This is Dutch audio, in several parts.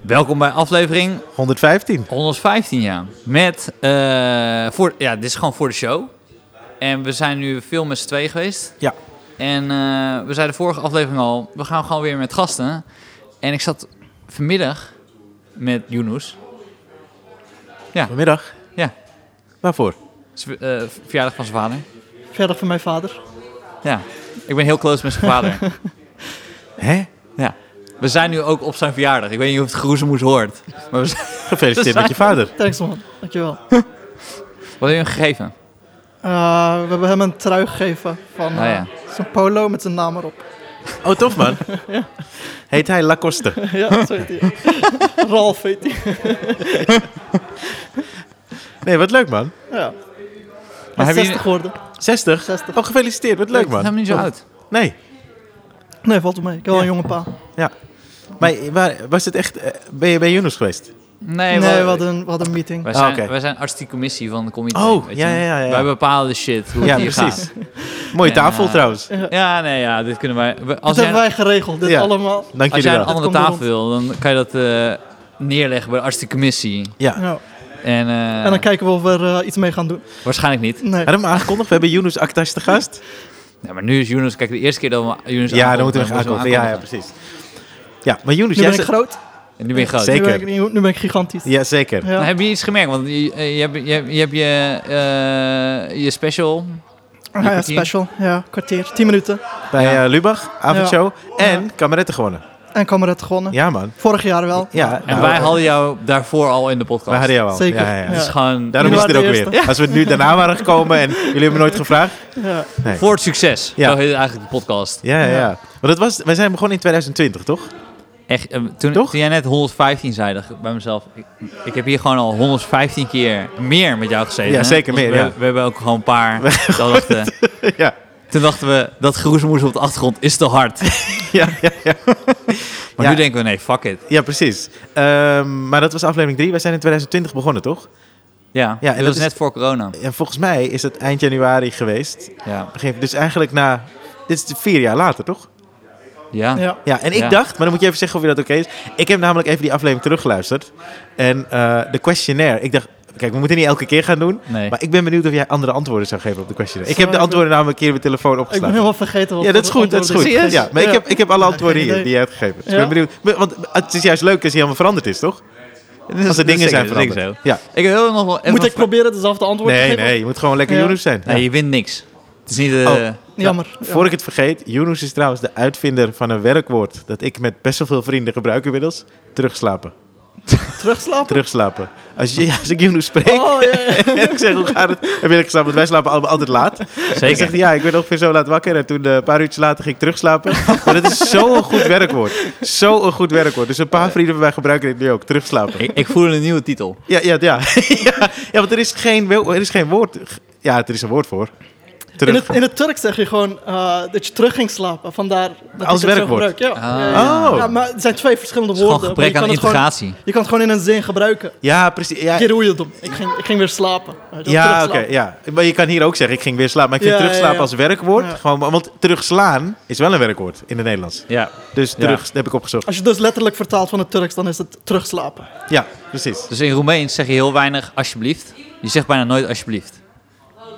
Welkom bij aflevering 115. 115, ja. Met, eh, voor, ja, dit is gewoon voor de show. En we zijn nu veel met z'n twee geweest. Ja. En eh, we zeiden de vorige aflevering al, we gaan gewoon weer met gasten. En ik zat vanmiddag met Yunus, Vanmiddag. Ja. Waarvoor? z- eh, verjaardag van zijn vader. Verder van mijn vader. Ja, ik ben heel close met zijn vader. Hè? we zijn nu ook op zijn verjaardag. Ik weet niet of het geroezemoes hoort. Maar we zijn, Gefeliciteerd met je vader. Thanks man, dankjewel. wat heb je hem gegeven? Eh we hebben hem een trui gegeven van Nou ja. eh, zijn polo met zijn naam erop. Oh, tof man. Heet hij Lacoste? ja, zo heet hij. Ralf heet hij. Nee, wat leuk man. Ja. Maar Hij hebben is 60 jullie- geworden. 60? 60. Oh, gefeliciteerd. Wat leuk man. Oh, Helemaal niet zo oud. Nee. Nee, valt wel mee. Ik heb wel een jonge pa. Maar waar- was het echt... eh, ben je bij Yunus geweest? Nee, Nee, wel. we, hadden een, we hadden een meeting. Wij zijn, Ah, oké. wij zijn artistieke commissie van de comité. Oh, weet ja, je. ja, ja, ja. Wij bepalen de shit, hoe Ja, het hier precies. gaat. Mooie En, tafel eh, trouwens. Ja, nee, ja, dit kunnen wij... we- Dus Dat Als jij, hebben wij geregeld, dit Ja. allemaal. Dank als jullie jij een wel. andere komt er tafel rond. wil, dan kan je dat eh, neerleggen bij de artistieke commissie. Ja. Ja. En, eh, En dan kijken we of we er eh, iets mee gaan doen. waarschijnlijk niet. Nee. Hadden we hem aangekondigd? We hebben Yunus Aktas te gast. Ja, maar nu is Yunus... Kijk, de eerste keer dat we Yunus Ja, dan aankondigen, moeten we hem moeten aankondigen. Ja, ja, precies. Ja, maar Yunus, Nu jij ben ik zegt- groot. En nu ben je groot. Zeker. Nu ben ik, nu ben ik gigantisch. Ja, zeker. Ja. Nou, heb je iets gemerkt? Want je, eh, je hebt je, je, hebt je, eh, je special... Ah, ja, kwartier. special. Ja, kwartier. 10 minuten. Bij Ja. eh, Lubach, avondshow. En kameretten gewonnen. En kameretten gewonnen. Ja, man. Vorig jaar wel. Ja, En nou, wij hadden jou daarvoor al in de podcast. wij hadden jou al. Zeker. Ja, ja, ja. Het is Ja. gewoon... Daarom is Jullie het er ook waren de weer. Als we nu daarna waren gekomen en jullie hebben me nooit gevraagd. Ja. Voor het succes. Ja. Zo heet eigenlijk de podcast. Ja, ja, Ja. ja. Maar dat was, wij zijn begonnen in 2020, toch? Echt, eh, toen, Toch? toen jij net 115 zei, dacht ik bij mezelf, ik, ik heb hier gewoon al 115 keer meer met jou gezeten. Ja, hè? zeker meer, We, ja. we hebben ook gewoon een paar. dat dachten, ja. toen dachten we, dat geroezemoes op de achtergrond is te hard. Ja, ja, ja. Maar Ja. nu denken we, nee, fuck it. ja, precies. Ehm, maar dat was aflevering 3. Wij zijn in 2020 begonnen, toch? Ja, en dat, dat was is- net voor corona. En volgens mij is het eind januari geweest. Ja, Begin- Dus eigenlijk na... Dit is vier jaar later, toch? ja. Ja. Ja, en ik Ja. dacht, maar dan moet je even zeggen of je dat oké is. Ik heb namelijk even die aflevering teruggeluisterd. En eh, de questionnaire. Ik dacht, kijk, we moeten niet elke keer gaan doen. nee. Maar ik ben benieuwd of jij andere antwoorden zou geven op de questionnaire. Ik Zo, heb de ik- antwoorden namelijk hier op mijn telefoon Ik ben opgeslagen. helemaal vergeten wat Ja, dat is voor goed, dat is goed. antwoord het Ja, maar ik Ja. heb, ik heb alle antwoorden geen hier idee. die jij hebt gegeven. Dus ik Ja. ben benieuwd. Maar- Want het is juist leuk als hij helemaal veranderd is, toch? Als er dat dingen is zeker- zijn dat is veranderd. zeker Ja. Ik heb heel nog wel even Moet een ik vra- proberen dezelfde antwoord te Nee, geven? nee, je moet gewoon lekker Ja. Yunus zijn. Ja. Nee, je wint niks. Het is niet... eh, Oh. Jammer. Voor ik het vergeet, Yunus is trouwens de uitvinder van een werkwoord dat ik met best wel veel vrienden gebruik inmiddels. Terugslapen. terugslapen? Terugslapen. Als, je, als ik Yunus spreek Oh, ja, ja. en ik zeg hoe gaat het, heb je geslapen, want wij slapen allemaal altijd laat. Hij Zeker. zegt ja, ik werd ongeveer zo laat wakker en toen eh, een paar uurtjes later ging ik terugslapen. maar het is zo'n goed werkwoord. Zo'n goed werkwoord. Dus een paar vrienden van mij gebruiken dit nu ook, terugslapen. Ik, ik voel een nieuwe titel. Ja, ja, ja. ja, ja, want er is, geen, wel- er is geen woord. Ja, er is een woord voor. In Terug. het, in het Turks zeg je gewoon eh, dat je terug ging slapen. Vandaar dat Als ik het zo werkwoord. gebruik. Ja. Ja, ja, ja. Oh. Ja, maar het zijn twee verschillende Ah. Het is gewoon woorden. maar gebrek aan je, kan het gewoon, integratie. je kan het gewoon in een zin gebruiken. Ja, precies. Ja, Keer hoe je het doet. Ik ging, ik ging weer slapen. Weet je wel, ja oké. terugslapen. ja. Maar je kan hier ook zeggen, ik ging weer slapen. Maar ik vind Ja, ja, terugslapen ja. als werkwoord. Ja. Gewoon, want terugslaan is wel een werkwoord in het Nederlands. Ja. Dus Ja. terug dat heb ik opgezocht. Als je het dus letterlijk vertaalt van het Turks, dan is het terugslapen. Ja, precies. Dus in Roemeens zeg je heel weinig alsjeblieft. Je zegt bijna nooit alsjeblieft.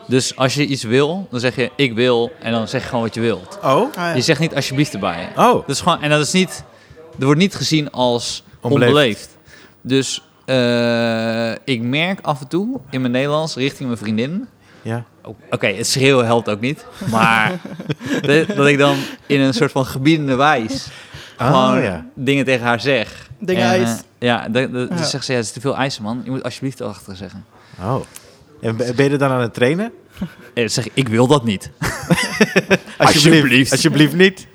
Dus als je iets wil, dan zeg je ik wil en dan zeg je gewoon wat je wilt. Oh. Ah, ja. Je zegt niet alsjeblieft erbij. Oh. Dat is gewoon, en dat is niet, dat wordt niet gezien als Onbeleefd. onbeleefd. Dus eh, ik merk af en toe in mijn Nederlands richting mijn vriendin. Ja. o- Oké, het schreeuwen helpt ook niet. Maar dat dat ik dan in een soort van gebiedende wijs gewoon Oh, ja. dingen tegen haar zeg. Dingen En, eh, eisen. ja, dat, dat, dan Ja. zegt ze, ja, het is te veel eisen, man. Je moet alsjeblieft erachter zeggen. Oh. En ben ben je er dan aan het trainen? Eh, zeg, ik wil dat niet. Alsjeblieft. Alsjeblieft niet.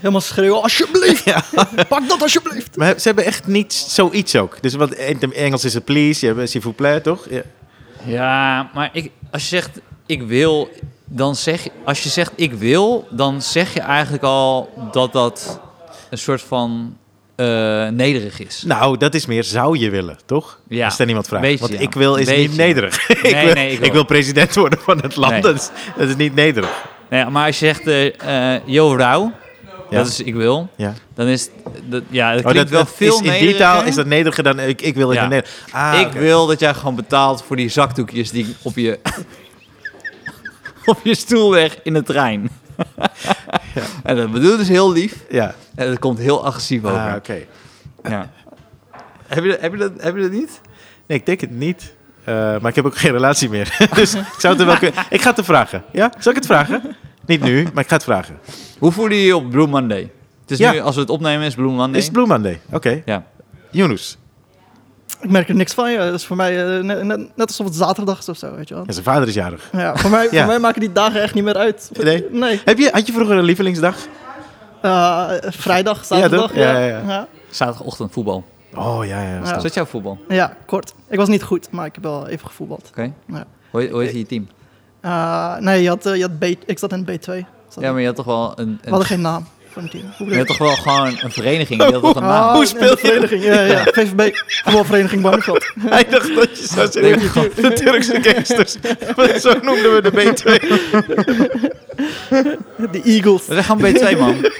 Helemaal schreeuwen, alsjeblieft. Pak dat alsjeblieft. Maar ze hebben echt niet zoiets ook. Dus wat in Engels is het please, je hebt s'il vous plaît, toch? Ja. Ja, maar ik, als je zegt, ik wil, dan zeg je... Als je zegt, ik wil, dan zeg je eigenlijk al dat dat een soort van eh, nederig is. Nou, dat is meer zou je willen, toch? Ja. Als er niemand vraagt. Beetje, Want ja. ik wil is Beetje. niet nederig. ik, Nee, wil, nee, ik ik, wil. wil president worden van het land. Nee. Nou Dat, is, dat is niet nederig. Nee, maar als je zegt, eh eh, yo, rauw, Ja. dat is ik wil, Ja. dan is het- dat, ja, dat Oh, klinkt wel dat veel is, in die taal nederiger. is dat nederiger dan ik, ik wil in Ja. de neder. Ah, ik oké. wil dat jij gewoon betaalt voor die zakdoekjes die ik op je, op je stoel leg in de trein. En dat bedoelt dus heel lief. Ja, En dat komt heel agressief over. ah, oké. ja. heb, je, heb, je dat, heb je dat niet? Nee, ik denk het niet. Eh, maar ik heb ook geen relatie meer. dus ik zou het er wel kunnen... Ik ga het er vragen. Ja? Zal ik het vragen? Niet nu, maar ik ga het vragen. Hoe voelde je je op Blue Monday? Het is Ja. nu, als we het opnemen, is Blue Monday. Is het Blue Monday? Oké. Ja. Yunus. Ik merk er niks van. Ja. Dat is voor mij eh, net, net- net alsof het zaterdag is of zo, weet je wel. Ja, zijn vader is jarig. Ja, voor, mij, Ja. voor mij maken die dagen echt niet meer uit. Nee? Nee. Heb je, had je vroeger een lievelingsdag? Eh, vrijdag, zaterdag. toch? Ja, ja. ja, ja. Ja. Zaterdagochtend voetbal. Oh, ja, ja. Is snap ik. dat jouw voetbal? Oké. Ja, kort. Ik was niet goed, maar ik heb wel even gevoetbald. Ja. Hoe, heet- hoe heet je team? Eh, nee, je had, eh, je had B, ik zat in B2. Zat Ja, ik. maar je had toch wel een... We een hadden geen naam voor een team. Hoe bedoel je je? had toch wel gewoon een vereniging, die had toch een Ah, naam? Hoe in speel je? de vereniging? Ja, ja. VVB, voetbalvereniging Barneveld. Hij dacht dat je zou zeggen, de Turkse gangsters. Maar Zo noemden we de B2. De Eagles, We zijn gewoon B2, man.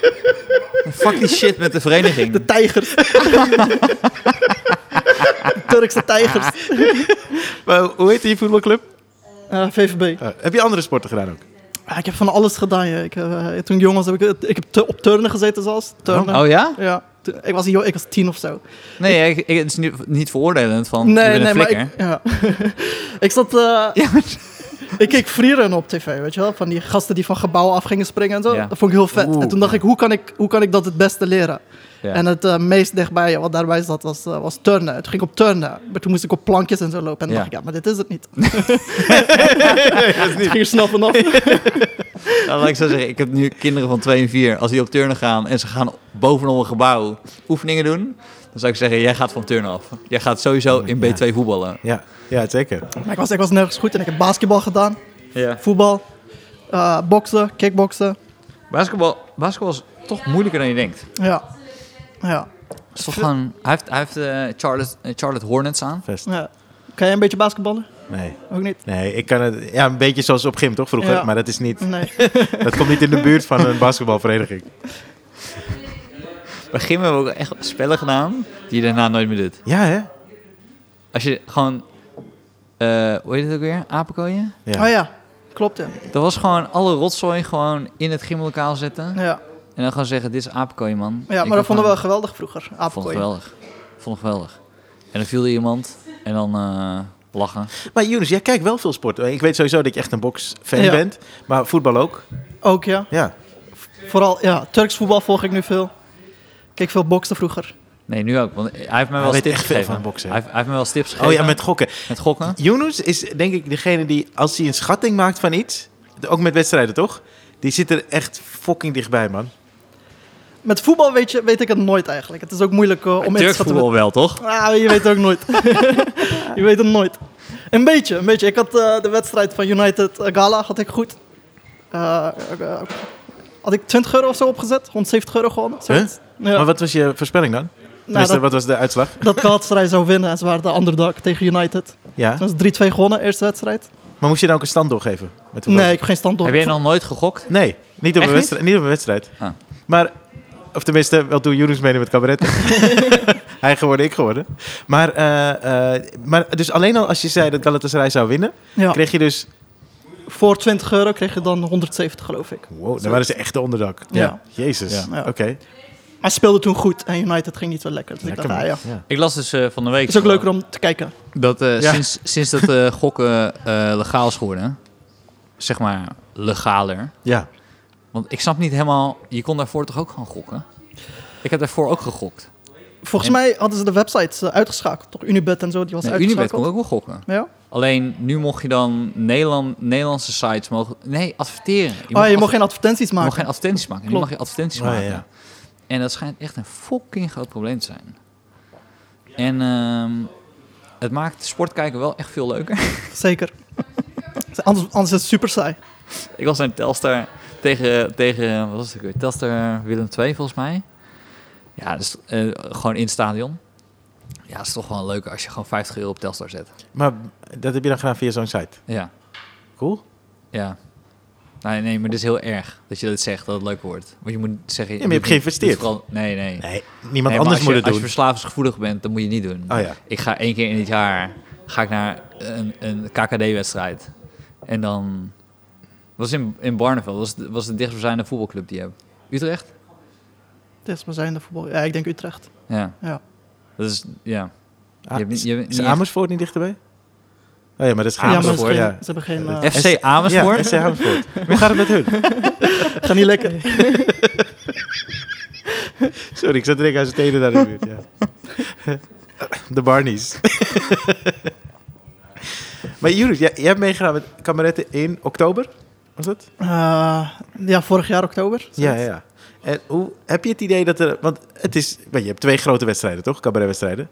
Fuck die shit met de vereniging. de Tijgers. De Turkse Tijgers. Maar hoe heet die voetbalclub? Eh, VVB. Eh, heb je andere sporten gedaan ook? Ah, ik heb van alles gedaan. ja. Ik, eh, toen ik jong was, heb ik, ik heb tu- op turnen gezeten zelfs. Turnen. Oh ja? Ja, toen- ik was, jo- ik was tien of zo. Nee, ik, ik- het is niet, niet veroordelend van Oh, je bent een maar flikker. ik, ja. ik zat... eh, ik keek freerun op tv, weet je wel? Van die gasten die van gebouwen af gingen springen en zo. Ja. Dat vond ik heel vet. Oeh. En toen dacht ik hoe, kan ik, hoe kan ik dat het beste leren? Ja. En het eh, meest dichtbij wat daarbij zat was, eh, was turnen. Toen ging ik op turnen. Maar toen moest ik op plankjes en zo lopen. Ja. En dan dacht ik, ja, maar dit is het niet. Het ging er snel vanaf. Nou, laat ik zo zeggen, ik heb nu kinderen van 2 en 4. Als die op turnen gaan en ze gaan bovenop een gebouw oefeningen doen... dan zou ik zeggen, jij gaat van turnen af. Jij gaat sowieso in B2 voetballen. Ja, ja zeker. Maar ik was, ik was nergens goed. En ik heb basketbal gedaan. Ja. Voetbal. eh, boksen. Kickboksen. Basketbal, basketbal is toch moeilijker dan je denkt. Ja. Ja. Het is toch gewoon... Hij heeft, hij heeft eh, Charlotte, eh, Charlotte Hornets aan. Vest. ja. Kan jij een beetje basketballen? Nee. Ook niet? Nee, ik kan het... Ja, een beetje zoals op gym toch vroeger? Ja. Maar dat is niet... Nee. Dat komt niet in de buurt van een basketbalvereniging. Bij Gim hebben we ook echt spellen gedaan die je daarna nooit meer doet. Ja, hè? Als je gewoon... eh, hoe heet het ook weer? Apenkooien? Ja. Oh ja. Klopt, ja. Dat was gewoon alle rotzooi gewoon in het gymlokaal zetten. Ja, En dan gewoon zeggen, dit is apenkooi, man. ja Ik maar wil dat vonden gewoon- we geweldig vroeger. Vond het Apenkooi. geweldig. Vond het geweldig. En dan viel er iemand en dan eh, lachen. Maar Younes, jij kijkt wel veel sport. Ik weet sowieso dat je echt een boksfan Ja. bent. Maar voetbal ook. Ook ja. Ja. Vooral ja, Turks voetbal volg ik nu veel. Kijk veel boksen vroeger. Nee, nu ook. Want hij heeft mij Hij wel weet tips echt veel gegeven. van boksen, Hij, hè? heeft, hij heeft mij wel tips gegeven. Oh ja, met gokken. Met gokken. Younes is denk ik degene die, als hij een schatting maakt van iets... Ook met wedstrijden, toch? Die zit er echt fucking dichtbij, man. Met voetbal weet, je, weet ik het nooit eigenlijk. Het is ook moeilijk eh, om in te Turks schatten. voetbal wel, toch? Ah, je weet het ook nooit. je weet het nooit. Een beetje, een beetje. Ik had eh, de wedstrijd van United eh, Gala had ik goed. Eh, eh, had ik 20 euro of zo opgezet. 170 euro gewonnen. zoiets. Ja. Nou, Maar wat was je voorspelling dan? Tenminste, dat- wat was de uitslag? Dat Galatasaray zou winnen en ze waren de underdog tegen United. Ja. Toen is 3-2 gewonnen, eerste wedstrijd. Maar moest je dan ook een stand doorgeven? Met hoeveel- Nee, ik heb geen stand door. Heb jij nog nooit gegokt? Nee, niet op, Echt een, wedstrijd, niet op een wedstrijd. Ah. Maar, of tenminste, wel toen Joris meende met cabaret. Hij geworden, ik geworden. Maar, eh, eh, maar dus alleen al als je zei dat Galatasaray zou winnen, Ja. kreeg je dus... Voor 20 euro kreeg je dan 170, geloof ik. Wow, dan waren ze echt de onderdak. Ja. Jezus, Ja. oké. Maar ze speelden toen goed en United ging niet zo lekker. Dus ik Lekker, dacht, ah, ja. man. Ja. Ik las dus eh, van de week... Het is ook leuker om te kijken. Dat eh, Ja. sinds, sinds dat eh, gokken eh, legaal is geworden... Zeg maar legaler. Ja. Want ik snap niet helemaal... Je kon daarvoor toch ook gewoon gokken? Ik heb daarvoor ook gegokt. Volgens En- mij hadden ze de websites eh, uitgeschakeld. Toch Unibet en zo, die was Nee, Unibet uitgeschakeld. kon ook wel gokken. Ja? Alleen nu mocht je dan Nederland, Nederlandse sites mogen. Nee, adverteren. Je ah, je adver- mocht geen advertenties je maken. mag geen advertenties maken. Nu Klopt. mag je advertenties Ah, maken. ja. En dat schijnt echt een fucking groot probleem te zijn. En ehm, het maakt sportkijken wel echt veel leuker. Zeker. anders, anders is het super saai. Ik was naar Telstar tegen, tegen wat was het ook weer? Telstar Willem II volgens mij. Ja, dus, eh, gewoon in het stadion. Ja, het is toch wel leuker als je gewoon 50 euro op Telstar zet. Maar dat heb je dan gedaan via zo'n site. Ja, Cool. ja. Nee, nee, maar dit is heel erg dat je dat zegt, dat het leuk wordt. Want je moet zeggen... maar je hebt moet- geïnvesteerd. moet vooral- Nee, nee. Nee, Nee, maar niemand als anders je- moet het Als doen. je verslavingsgevoelig bent, dan moet je niet doen. Oh ja. Ik ga één keer in het jaar ga ik naar een, een KKD-wedstrijd. En dan... was in, in Barneveld. was de, was de dichtstbijzijnde voetbalclub die je hebt. Utrecht? Dit is maar zijn de voetbal. Ja, ik denk Utrecht. Ja. Ja. Dat is... Ja. Ah, je hebt niet- je hebt is niet- Amersfoort niet dichterbij? Oh ja, maar Ah, dat is geen ja, maar Amersfoort. ze, Ja, hebben geen- ze hebben geen... eh, FC Amersfoort? Ah. Ja, SC Amersfoort. Hoe gaat het met hun? Ga niet lekker. Sorry, ik zat direct aan zijn tenen daar in de buurt. Ja. De Barnies. maar Jurus, jij, jij hebt meegedaan met kameretten in oktober, was het? Eh, ja, vorig jaar oktober. Ja, ja, ja. En hoe, heb je het idee dat er... Want het is, weet je, je hebt twee grote wedstrijden, toch? Cabaretwedstrijden.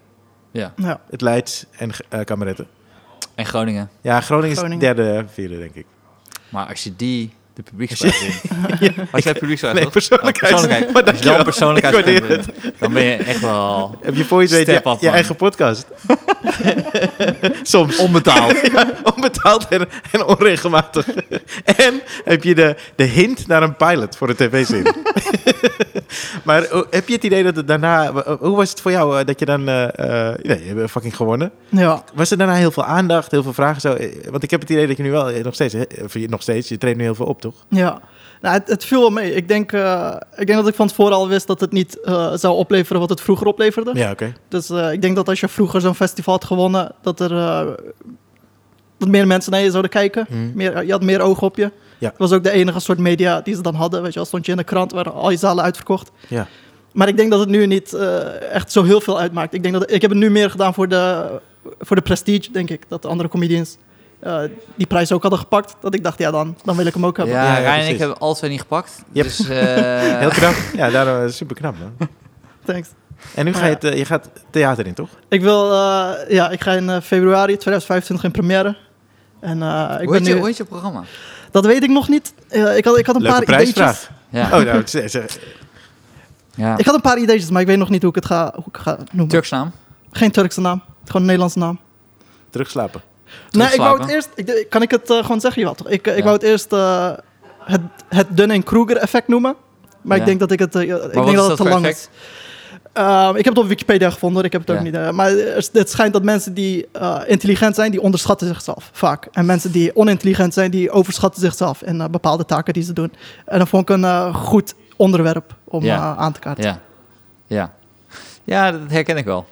Ja. Ja. Het Leids en eh kameretten. En Groningen. Ja, Groningen, Groningen. is derde, vierde, denk ik. Maar als je die de publieksvrijheid wint. Als jij publieksvrijheid toch? Nee, persoonlijkheid. Oh, persoonlijkheid. Maar als je dan dankjewel. persoonlijkheid Ik waardeer wint, dan ben je echt wel Heb je voor je het weet Step je, up, je man. eigen podcast? Soms. onbetaald. Ja, onbetaald en, en onregelmatig. en heb je de, de hint naar een pilot voor een tv-serie. maar hoe- heb je het idee dat het daarna... Hoe was het voor jou eh, dat je dan... eh, eh, nee, je hebt fucking gewonnen. Ja. Was er daarna heel veel aandacht, heel veel vragen? Zo? Eh, Want ik heb het idee dat je nu wel eh, nog steeds... eh, of je- nog steeds, je traint nu heel veel op, toch? ja. Nou, het, het viel wel mee. Ik denk, eh, ik denk dat ik van tevoren al wist dat het niet eh, zou opleveren wat het vroeger opleverde. Ja, oké. Dus eh, ik denk dat als je vroeger zo'n festival had gewonnen, dat er eh, dat meer mensen naar je zouden kijken. Hmm. Meer, je had meer oog op je. Ja. Het was ook de enige soort media die ze dan hadden. Weet je, al stond je in de krant, waren al je zalen uitverkocht. Ja. Maar ik denk dat het nu niet eh, echt zo heel veel uitmaakt. Ik, denk dat, ik heb het nu meer gedaan voor de, voor de prestige, denk ik. Dat de andere comedians eh, die prijs ook hadden gepakt. Dat ik dacht, ja dan, dan wil ik hem ook hebben. Ja, Ja, ja, Ryan en ik precies. hebben alle twee niet gepakt. Yep. Dus eh, Heel knap. ja, daarom super knap, man. Thanks. En nu ga Maar je, ja. het, eh, je gaat theater in, toch? Ik, wil, eh, ja, ik ga in eh, februari 2025 in première. En, eh, ik hoe, heet ben je, nu, hoe heet je programma? Dat weet ik nog niet. Eh, ik, had, ik had een Leuke paar prijsvraag. ideetjes. Ja. Oh, nou, ze- ze- ja. Ik had een paar ideetjes, maar ik weet nog niet hoe ik het ga, hoe ik het ga noemen. Turksnaam. Geen Turkse naam. Gewoon een Nederlandse naam. terugslapen. Nee, ik wou slapen. het eerst... Ik, d- kan ik het eh, gewoon zeggen? Ja, toch? Ik, eh, ik Ja. wou het eerst eh, het, het Dunn en Kruger effect noemen. Maar Ja. ik denk dat ik het... eh, ik wat denk is dat dat het te voor lang effect? is. Ehm, ik heb het op Wikipedia gevonden. hoor. Ik heb het ook Ja. niet... eh, maar er is- het schijnt dat mensen die eh, intelligent zijn, die onderschatten zichzelf vaak. En mensen die onintelligent zijn, die overschatten zichzelf in eh, bepaalde taken die ze doen. En dat vond ik een eh, goed onderwerp om Ja. eh, aan te kaarten. Ja. ja. Ja, dat herken ik wel.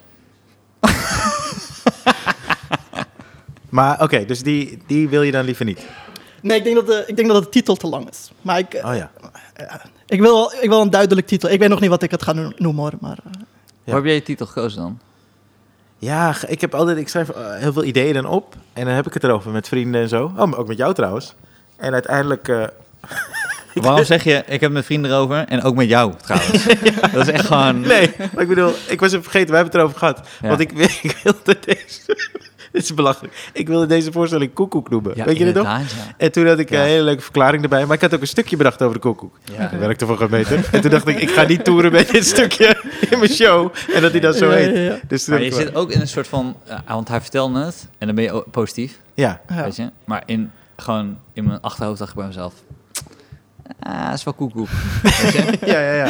Maar oké, dus die, die wil je dan liever niet. Nee, ik denk, dat de, ik denk dat de titel te lang is. Maar ik, Ah. Oh ja. ik, wil, wel- ik wil een duidelijk titel. Ik weet nog niet wat ik het ga no- noemen hoor. Maar, eh, Waar heb jij je titel gekozen dan? Ja, g- ik heb altijd, ik schrijf eh, heel veel ideeën dan op. En dan heb ik het erover met vrienden en zo. Oh, maar ook met jou trouwens. En uiteindelijk, eh, Waarom zeg je, ik heb mijn vrienden erover en ook met jou trouwens? Dat is echt gewoon... nee, maar ik bedoel, ik was het vergeten, we hebben het erover gehad. Ja. Want ik, wil- ik wilde deze, dit is belachelijk. Ik wilde deze voorstelling koekoek noemen. Ja, Weet je dit nog? inderdaad, ja. En toen had ik Ja. een hele leuke verklaring erbij. Maar ik had ook een stukje bedacht over de koekoek. Ja. Dat werkte voor geen meter. En toen dacht ik, ik ga niet toeren met dit stukje in mijn show. En dat hij dan zo Ja, ja, heet. ja. Dus toen Maar heb je ik zit wel- ook in een soort van... eh, want hij vertelde het en dan ben je o- positief. Ja, ja. Weet je? Maar in, gewoon in mijn achterhoofd dacht ik bij mezelf... Ah, is wel koekoek. Weet je? ja, ja. ja.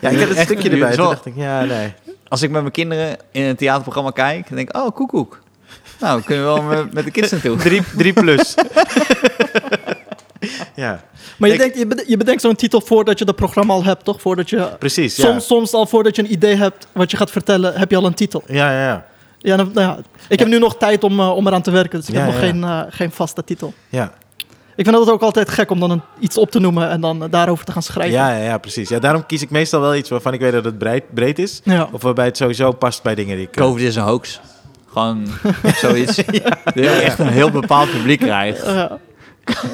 ja ik Nu had een echt- stukje nu erbij. is Toen wel- dacht ik, ja, nee. Als ik met mijn kinderen in een theaterprogramma kijk, dan denk ik, oh, koekoek. Nou, kunnen we wel met, met de kids naartoe. Drie, drie plus. ja, Maar je, Ik- denkt, je, bede- je bedenkt zo'n titel voordat je dat programma al hebt, toch? Voordat je, precies. Ja. soms, soms al voordat je een idee hebt wat je gaat vertellen, heb je al een titel. Ja, ja, ja. Ja, dan- nou ja, ik heb nu nog tijd om, eh, om eraan te werken, dus ik Ja, heb nog ja, ja. Geen, eh, geen vaste titel. Ja, Ik vind het ook altijd gek om dan een, iets op te noemen en dan eh, daarover te gaan schrijven. ja, ja, ja, precies. Ja, daarom kies ik meestal wel iets waarvan ik weet dat het breed, breed is. Ja. Of waarbij het sowieso past bij dingen die ik... eh, COVID is een hoax. Gewoon zoiets. Dat je echt een heel bepaald publiek krijgt. Eh,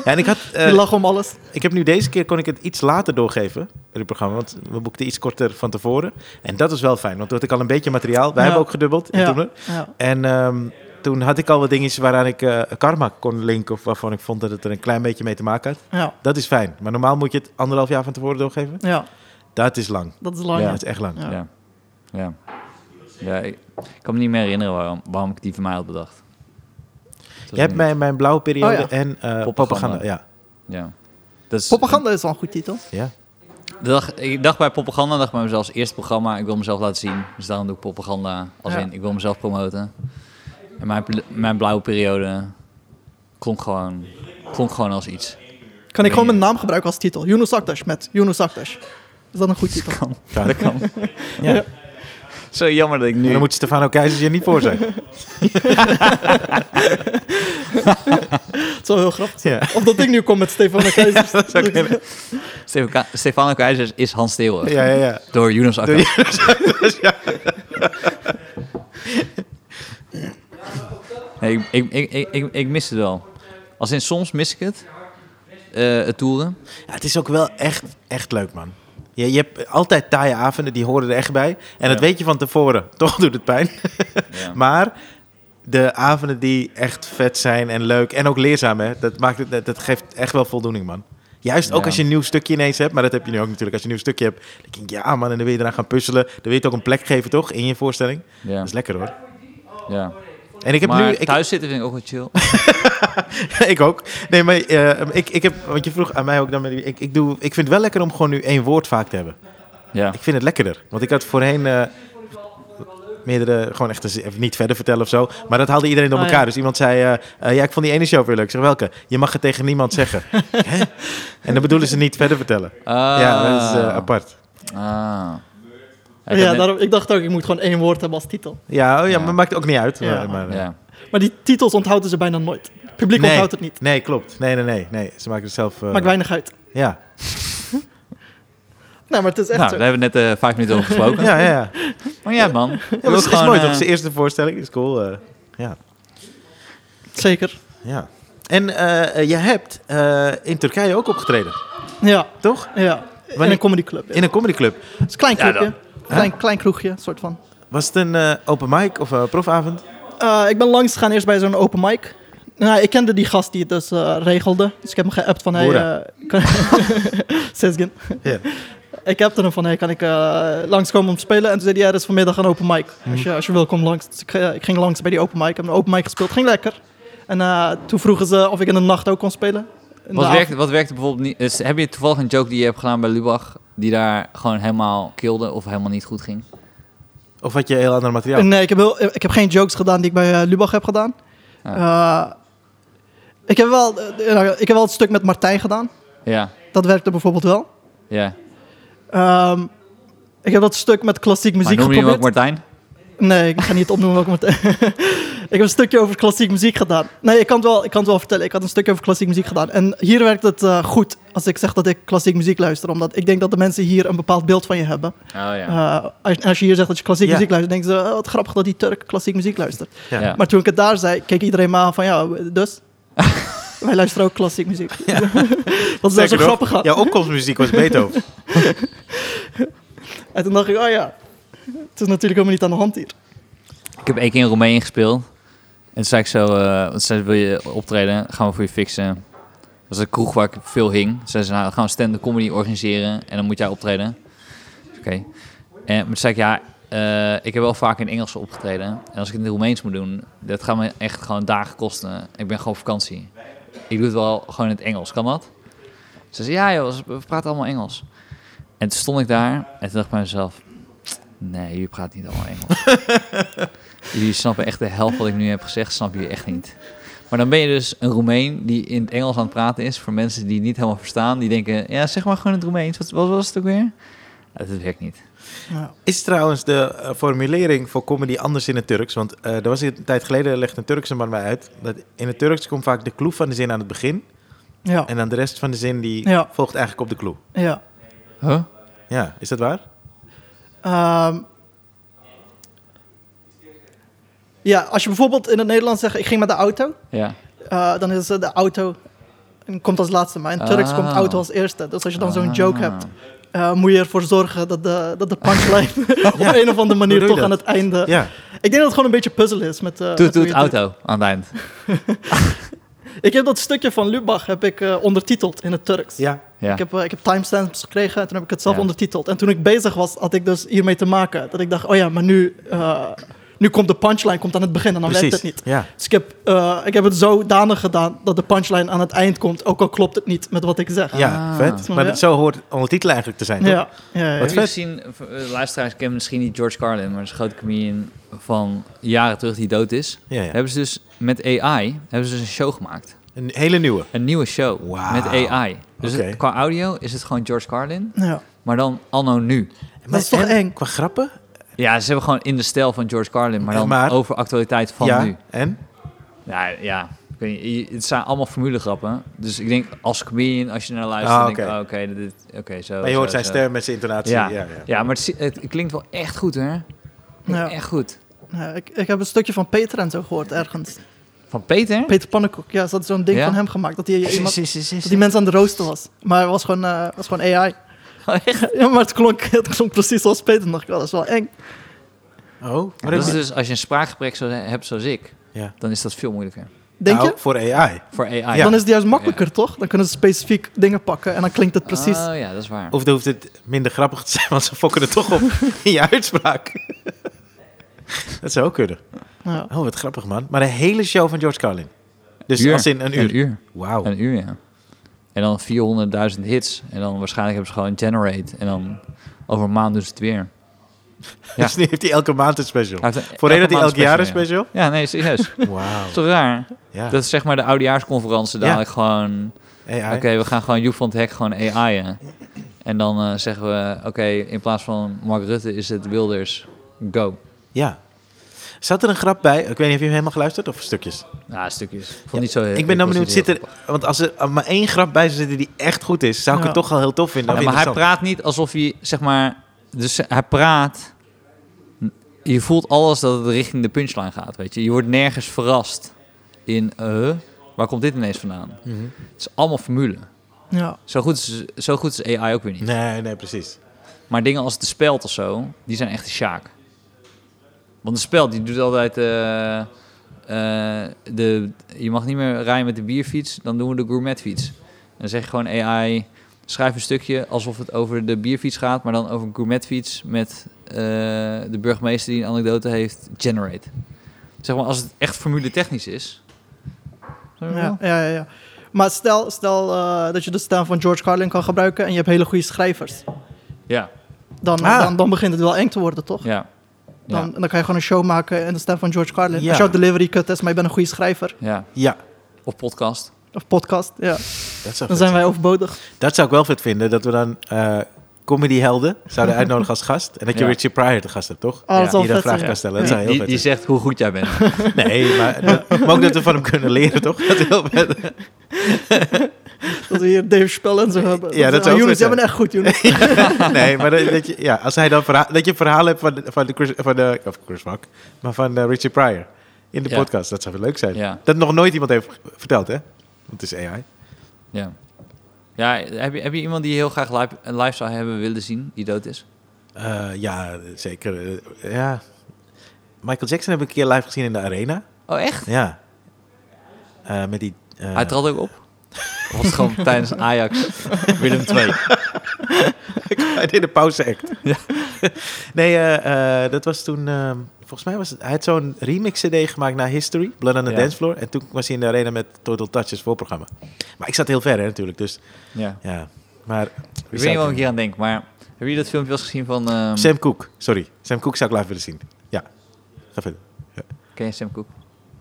Ja, en ik, had, eh, die lachen om alles. ik heb nu deze keer kon ik het iets later doorgeven, het programma. Want we boekten iets korter van tevoren. En dat is wel fijn, want toen had ik al een beetje materiaal. Wij Ja. hebben ook gedubbeld. in Ja, Toemler. ja. En ehm, toen had ik al wat dingetjes waaraan ik eh, karma kon linken. Of waarvan ik vond dat het er een klein beetje mee te maken had. Ja, Dat is fijn. Maar normaal moet je het anderhalf jaar van tevoren doorgeven. ja, Dat is lang. dat is Ja, lang. Oh, Ja, dat is echt lang. Ja. Ja. Ja. ja ik, ik kan me niet meer herinneren waarom, waarom ik die van mij had bedacht. Het was Je hebt een- mijn, mijn blauwe periode Oh ja. en eh Propaganda. propaganda. Ja. Ja. Dat is, Propaganda is wel een goed titel. Ja. de dag- ik dacht bij propaganda, dacht bij mezelf als eerste programma, ik wil mezelf laten zien. Dus daarom doe ik propaganda, als Ja. in, ik wil mezelf promoten. En mijn, pl- mijn blauwe periode klonk gewoon, klonk gewoon als iets. Kan ik gewoon mijn naam gebruiken als titel? Yunus Akdash met Yunus Akdash. Is dat een goed titel? Dat kan. Ja. Zo jammer dat ik En nu... Nou, dan moet Stefano Keizers hier niet voor zijn. Het is wel heel grappig. Ja. Of dat ik nu kom met Stefan de Keizers. dat zou kunnen. Stefan Ka- Stefano Keizers is Hans Steeuwen. Ja, ja, ja. Door Jonas Akka. Nee, ik, ik, ik, ik, ik, ik mis het wel. Als in soms mis ik het. eh, het toeren. Ja, het is ook wel echt, echt leuk, man. Je, je hebt altijd taaie avonden, die horen er echt bij. En dat weet je van tevoren. Toch doet het pijn. Maar de avonden die echt vet zijn en leuk en ook leerzaam, hè, dat, maakt het, dat- dat geeft echt wel voldoening, man. Juist ook Ja. als je een nieuw stukje ineens hebt, maar dat heb je nu ook natuurlijk. Als je een nieuw stukje hebt, dan denk je, ja man, en dan wil je eraan gaan puzzelen. Dan wil je het ook een plek geven, toch? In je voorstelling. Ja, Dat is lekker, hoor. ja. En ik heb maar nu... Ik, thuis zitten vind ik ook wel chill. ik ook. Nee, maar eh, ik, ik heb... Want je vroeg aan mij ook dan... met die- Ik, ik, doe, ik vind het wel lekker om gewoon nu één woord vaak te hebben. ja. Ik vind het lekkerder. Want ik had voorheen eh, meerdere, gewoon echt een zi- even niet verder vertellen of zo. Maar dat haalde iedereen door Ah, elkaar. ja. Dus iemand zei, eh, eh, ja, ik vond die ene show weer leuk. Ik zeg, welke? Je mag het tegen niemand zeggen. Hè? En dan bedoelen ze niet verder vertellen. Ja, dat is eh, apart. Ah. Ja, Ik had net- daarom, ik dacht ook, ik moet gewoon één woord hebben als titel. Ja, oh, ja, Ja. maar maakt ook niet uit. Ja. Maar, maar, eh, ja. Maar die titels onthouden ze bijna nooit. Het publiek nee. onthoudt het niet. Nee, klopt. Nee, nee, nee. nee. Ze maken het zelf... eh, Maakt weinig uit. ja. Nee, maar het is echt Nou, zo. daar hebben we net eh, vijf minuten over ja, gesproken. ja, ja. Maar ja, man. Ja, ja dat is, is mooi, toch? eh, Zijn eerste voorstelling is cool. eh. ja. Zeker. ja. En eh, je hebt eh, in Turkije ook opgetreden, Ja, toch? ja. Wanneer- In een comedyclub. Ja. In een comedyclub. Het is een klein Ja, clubje. klein, klein kroegje, soort van. Was het een eh, open mic of een profavond? Eh, ik ben langs gegaan eerst bij zo'n open mic. Nou, ik kende die gast die het dus eh, regelde. Dus ik heb hem geappt van... Hey, Boera. eh, kan- Sesgin. Ja. Ik appte hem van... Hey, kan ik eh, langskomen om te spelen? En toen zei hij... Ja, er is vanmiddag een open mic. Mhm. Als, je, als je wil, kom langs. Dus ik, eh, ik ging langs bij die open mic. Ik heb een open mic gespeeld. Ging lekker. En eh, toen vroegen ze of ik in de nacht ook kon spelen. In Wat de werkte, wat werkte bijvoorbeeld niet? is- heb je toevallig een joke die je hebt gedaan bij Lubach, die daar gewoon helemaal kilde of helemaal niet goed ging? Of had je heel ander materiaal? Nee, eh, ik heb, heel, ik heb geen jokes gedaan die ik bij eh, Lubach heb gedaan. Ah. Eh, ik, heb wel, eh, nou, ik heb wel het stuk met Martijn gedaan. Ja, Dat werkte bijvoorbeeld wel. ja. Ehm, ik heb dat stuk met klassiek Maar muziek noem je hem ook geprobeerd. Martijn? Nee, ik ga niet opnoemen welke Martijn. ik heb een stukje over klassiek muziek gedaan. Nee, ik kan, het wel, ik kan het wel vertellen. Ik had een stukje over klassiek muziek gedaan. En hier werkt het eh, goed als ik zeg dat ik klassiek muziek luister. Omdat ik denk dat de mensen hier een bepaald beeld van je hebben. Oh ja. Eh, als, als je hier zegt dat je klassiek Ja. muziek luistert, denken ze... "Oh, wat grappig dat die Turk klassiek muziek luistert. Ja. Ja. Maar toen ik het daar zei, keek iedereen me aan van ja, dus. Wij luisteren ook klassiek muziek. dat is wel zo Sterker nog, grappig aan. Jouw opkomstmuziek was Beethoven. En toen dacht ik, oh ja, het is natuurlijk helemaal niet aan de hand hier. Ik heb één keer in Roemenië gespeeld. En toen zei ik zo, eh, want zei, ze, wil je optreden? Gaan we voor je fixen. Dat was een kroeg waar ik veel hing. Ze zei, ze, nou, dan gaan we stand-up comedy organiseren en dan moet jij optreden. Dus Oké. En maar toen zei ik, ja, eh, ik heb wel vaak in Engels opgetreden. En als ik het in het Roemeens moet doen, dat gaat me echt gewoon dagen kosten. Ik ben gewoon op vakantie. Ik doe het wel gewoon in het Engels, kan dat? Ze zei, ja joh, we praten allemaal Engels. En toen stond ik daar en toen dacht ik bij mezelf, nee, jullie praten niet allemaal Engels. Jullie snappen echt de helft wat ik nu heb gezegd, snap je echt niet. Maar dan ben je dus een Roemeen die in het Engels aan het praten is. Voor mensen die het niet helemaal verstaan. Die denken, ja, zeg maar gewoon in het Roemeens. Wat, wat was het ook weer? Ja, dat werkt niet. Is trouwens de eh, formulering voor comedy anders in het Turks? Want eh er was een tijd geleden, legde een Turkse man mij uit... dat in het Turks komt vaak de clue van de zin aan het begin... Ja, en dan de rest van de zin die Ja. volgt eigenlijk op de clue. ja. Huh? Ja, is dat waar? Ehm, ja, als je bijvoorbeeld in het Nederlands zegt, ik ging met de auto. Ja. eh, dan is eh, de auto, en komt als laatste. Maar in het Turks Ah. komt auto als eerste. Dus als je dan zo'n Ah. joke hebt, eh, moet je ervoor zorgen dat de, dat de punchline op Ja. een of andere Hoe doe manier je toch dat? aan het einde... Ja. Ik denk dat het gewoon een beetje puzzelen is. Met, eh, met Doe, doe hoe het je doet. auto aan het eind. Ik heb dat stukje van Lubach heb ik, eh, ondertiteld in het Turks. Ja. Ja. Ik heb, eh, ik heb timestamps gekregen en toen heb ik het zelf Ja. ondertiteld. En toen ik bezig was, had ik dus hiermee te maken. Dat ik dacht, oh ja, maar nu eh, Nu komt de punchline komt aan het begin en dan werkt Precies. het niet. Ja. Dus ik heb, eh, ik heb het zodanig gedaan dat de punchline aan het eind komt, ook al klopt het niet met wat ik zeg. Ja, Ah. vet. Snap Maar je? dat- zo hoort ondertitel eigenlijk te zijn. ja, toch? ja, ja, ja. Wat Wat vet. gezien, eh, luisteraars kennen misschien niet George Carlin, maar dat is een grote comedian van jaren terug die dood is. Ja, ja. Hebben ze dus met AI hebben ze dus een show gemaakt. Een hele nieuwe. Een nieuwe show Wauw. met AI. Dus het- Oké. qua audio is het gewoon George Carlin, Ja. maar dan anno nu. Dat is toch en eng? Qua grappen? Ja, ze hebben gewoon in de stijl van George Carlin, maar Ja, dan maar- over actualiteit van ja. nu. En? Ja, ja. Ik weet niet, je- het zijn allemaal formulegrappen. Dus ik denk als comedian, als je naar luistert, Ah, denk ik, oké. oh, oké, dit- dit- oké, zo. Maar je hoort zo, zijn zo. stem met zijn intonatie. Ja, Ja, ja, ja. maar het, zi- het klinkt wel echt goed, hè? Ja. Echt goed. Ja, ik, ik heb een stukje van Peter en zo gehoord ergens. Van Peter? Peter Pannenkoek, ja, ze hadden zo'n ding Ja? van hem gemaakt. Dat hij iemand, Is- is- is- is- dat die mensen aan de rooster was. Maar het was gewoon, eh, was gewoon AI. Echt? Ja, maar het klonk, het klonk precies zoals Peter nog. Dat is wel eng. Oh, maar Dat is dat dus, als je een spraakgebrek zo, hebt zoals ik, Ja. dan is dat veel moeilijker. Denk Nou, je? voor AI. Voor AI. Dan is het juist makkelijker, toch? Dan kunnen ze specifiek dingen pakken en dan klinkt het precies. Oh ja, dat is waar. Of dan hoeft het minder grappig te zijn, want ze fokken er toch op in je uitspraak. dat zou ook kunnen. ja. Oh, wat grappig, man. Maar een hele show van George Carlin. Dus als in een Een uur. uur, Wauw. een uur ja. En dan 400.000 hits. En dan waarschijnlijk hebben ze gewoon generate. En dan over een maand doen ze het weer. Dus nu heeft hij elke maand een special. Hij heeft een- Voorheen had hij maand elk jaar een ja. special. Ja, nee, serieus. Dat Wauw. is toch raar? Ja. Dat is zeg maar de oudejaarsconferentie Ja. dadelijk gewoon... AI. Oké, we gaan gewoon Joep van het Hek gewoon AI'en. En dan eh, zeggen we, oké, in plaats van Mark Rutte is het Wilders, go. Ja. Zat er een grap bij? Ik weet niet of je hem helemaal geluisterd of stukjes. Nou, stukjes. Ik vond het niet zo heel ik ben dan benieuwd, zit er, Ja, want als er maar één grap bij zou zitten die echt goed is, zou ik Ja. het toch wel heel tof vinden. maar hij praat niet alsof hij, zeg maar... Dus hij praat... Je voelt alles dat het richting de punchline gaat, weet je. Je wordt nergens verrast in... eh, waar komt dit ineens vandaan? Het is allemaal formule. Ja. Zo goed is, zo goed is AI ook weer niet. Nee, nee, precies. Maar dingen als de speld of zo, die zijn echt de sjaak. Want de speld, die doet altijd... eh, eh, de, je mag niet meer rijden met de bierfiets, dan doen we de gourmetfiets. En dan zeg je gewoon AI, schrijf een stukje alsof het over de bierfiets gaat... maar dan over een gourmetfiets met eh, de burgemeester die een anekdote heeft, generate. Zeg maar, als het echt formule technisch is... Snap je Ja, wel? ja, ja, ja. Maar stel, stel eh, dat je de stem van George Carlin kan gebruiken en je hebt hele goede schrijvers. Ja, Dan, Ah. dan, dan begint het wel eng te worden, toch? ja. Dan, dan kan je gewoon een show maken in de stem van George Carlin. Ja. Als jouw delivery kut is, maar je bent een goede schrijver. ja. Ja, Of podcast. Of podcast, ja. dat zou, Dan zijn wij overbodig. dat zou ik wel vet vinden, dat we dan eh comedyhelden zouden uitnodigen als gast. En dat je Ja. Richard Pryor te gast hebt, toch? Oh, dat zal Die dan vet zijn. vragen kan stellen. Dat Die, zou heel die, vet die zijn. zegt hoe goed jij bent. Nee, maar, dat- maar ook dat we van hem kunnen leren, toch? Dat is heel vet. Dat we hier Dave Spell en zo hebben. Ja, dat is zou ook vet Younes, jij zijn. bent echt goed, Younes. Nee, maar dat, dat je, ja, als hij dan verha- dat je een verhaal hebt van, van, de Chris, van de, of Chris Rock, maar van eh, Richard Pryor in de Ja. podcast. Dat zou wel leuk zijn. Ja. Dat nog nooit iemand heeft g- verteld, hè? Want het is AI. Ja. Ja, heb je, heb je iemand die je heel graag live, live zou hebben willen zien, die dood is? Eh, ja, zeker. eh, ja. Michael Jackson heb ik een keer live gezien in de arena. Oh, echt? Ja. Eh, met die... eh, Hij trad ook op? Of was het gewoon tijdens Ajax Willem II? hij deed een pauze act. nee, eh, eh, dat was toen... eh, volgens mij was het... Hij had zo'n remix cd gemaakt naar History, Blood on the Ja. Dance Floor. En toen was hij in de arena met Total Touches voorprogramma. Maar ik zat heel ver, hè, natuurlijk. Dus Ja. ja. Maar... Ik weet niet wat ik hier aan denk, maar hebben jullie dat filmpje wel eens gezien van... ehm, Sam Cooke, sorry. Sam Cooke zou ik live willen zien. Ja. Ga verder. Ken je Sam Cooke?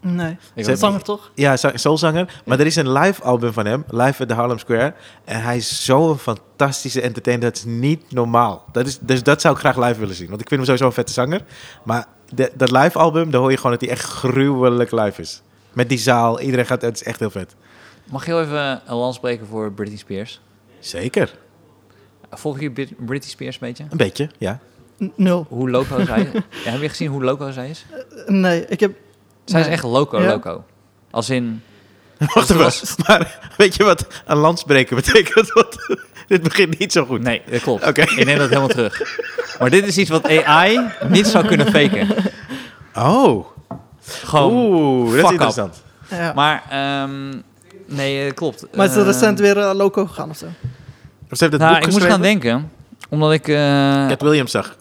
Nee. Ik Sam- ook Zanger niet. toch? Ja, zo- soulzanger. Maar er is een live album van hem, Live at the Harlem Square. En hij is zo'n fantastische entertainer, dat is niet normaal. Dat is, dus dat zou ik graag live willen zien. Want ik vind hem sowieso een vette zanger. Maar de- dat live album, daar hoor je gewoon dat hij echt gruwelijk live is. Met die zaal, iedereen gaat, het is echt heel vet. Mag je heel even een lans breken voor Britney Spears? Zeker. Volg je Brit- Britney Spears een beetje? Een beetje, ja. N- nul. Hoe loco zij is? Ja, heb je gezien hoe loco zij is? Nee, ik heb... Zij is Nee. echt loco, Ja? loco. Als in... Wacht dat even. was- Maar weet je wat een landsbreker betekent? Want dit begint niet zo goed. Nee, dat klopt. Oké. Ik neem dat helemaal terug. Maar dit is iets wat AI niet zou kunnen faken. Oh. Gewoon... Oeh, fuck dat is up. interessant. Ja. Maar, Maar, ehm, nee, eh, klopt. is er Ehm, recent weer eh, loco gegaan of zo? Of Ze heeft dat nou, boek ik moest gaan geschreven. denken, Omdat ik... eh, Cat Williams zag.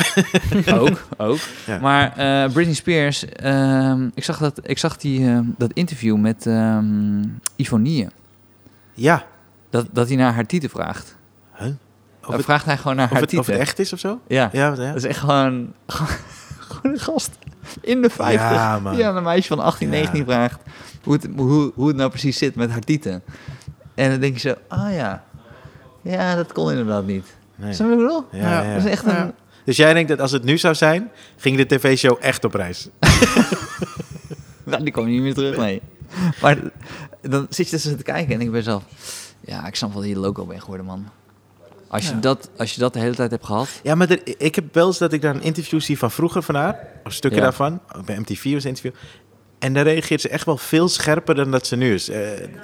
ook, ook. Ja. Maar eh, Britney Spears, ehm, ik zag, dat, ik zag die, ehm, dat interview met ehm Ivonie. Ja. Dat, dat hij naar haar titel vraagt. Huh? Of Dan het- vraagt hij gewoon naar Of haar het, of titel. het echt is of zo? Ja. Ja, wat- ja. dat is echt gewoon, gewoon een gast in de 50 Ja, man. die aan een meisje van 18, Ja. 19 vraagt hoe het, hoe, hoe het nou precies zit met haar tieten. En dan denk je zo, ah ja, ja, dat kon inderdaad niet. Nee. Snap je wat ik bedoel? Ja, ja, Dat is ja. echt een... Dus jij denkt dat als het nu zou zijn, ging de tv-show echt op reis? Nou, die kwam niet meer terug, nee. Maar dan zit je dus te kijken en ik ben zelf... Ja, ik snap wel dat je loco bent geworden, man. Als je, Ja. dat, als je dat de hele tijd hebt gehad... Ja, maar er- ik heb wel eens dat ik daar een interview zie van vroeger van haar. Of stukken Ja. daarvan. Bij MTV was een interview. En daar reageert ze echt wel veel scherper dan dat ze nu is. Eh,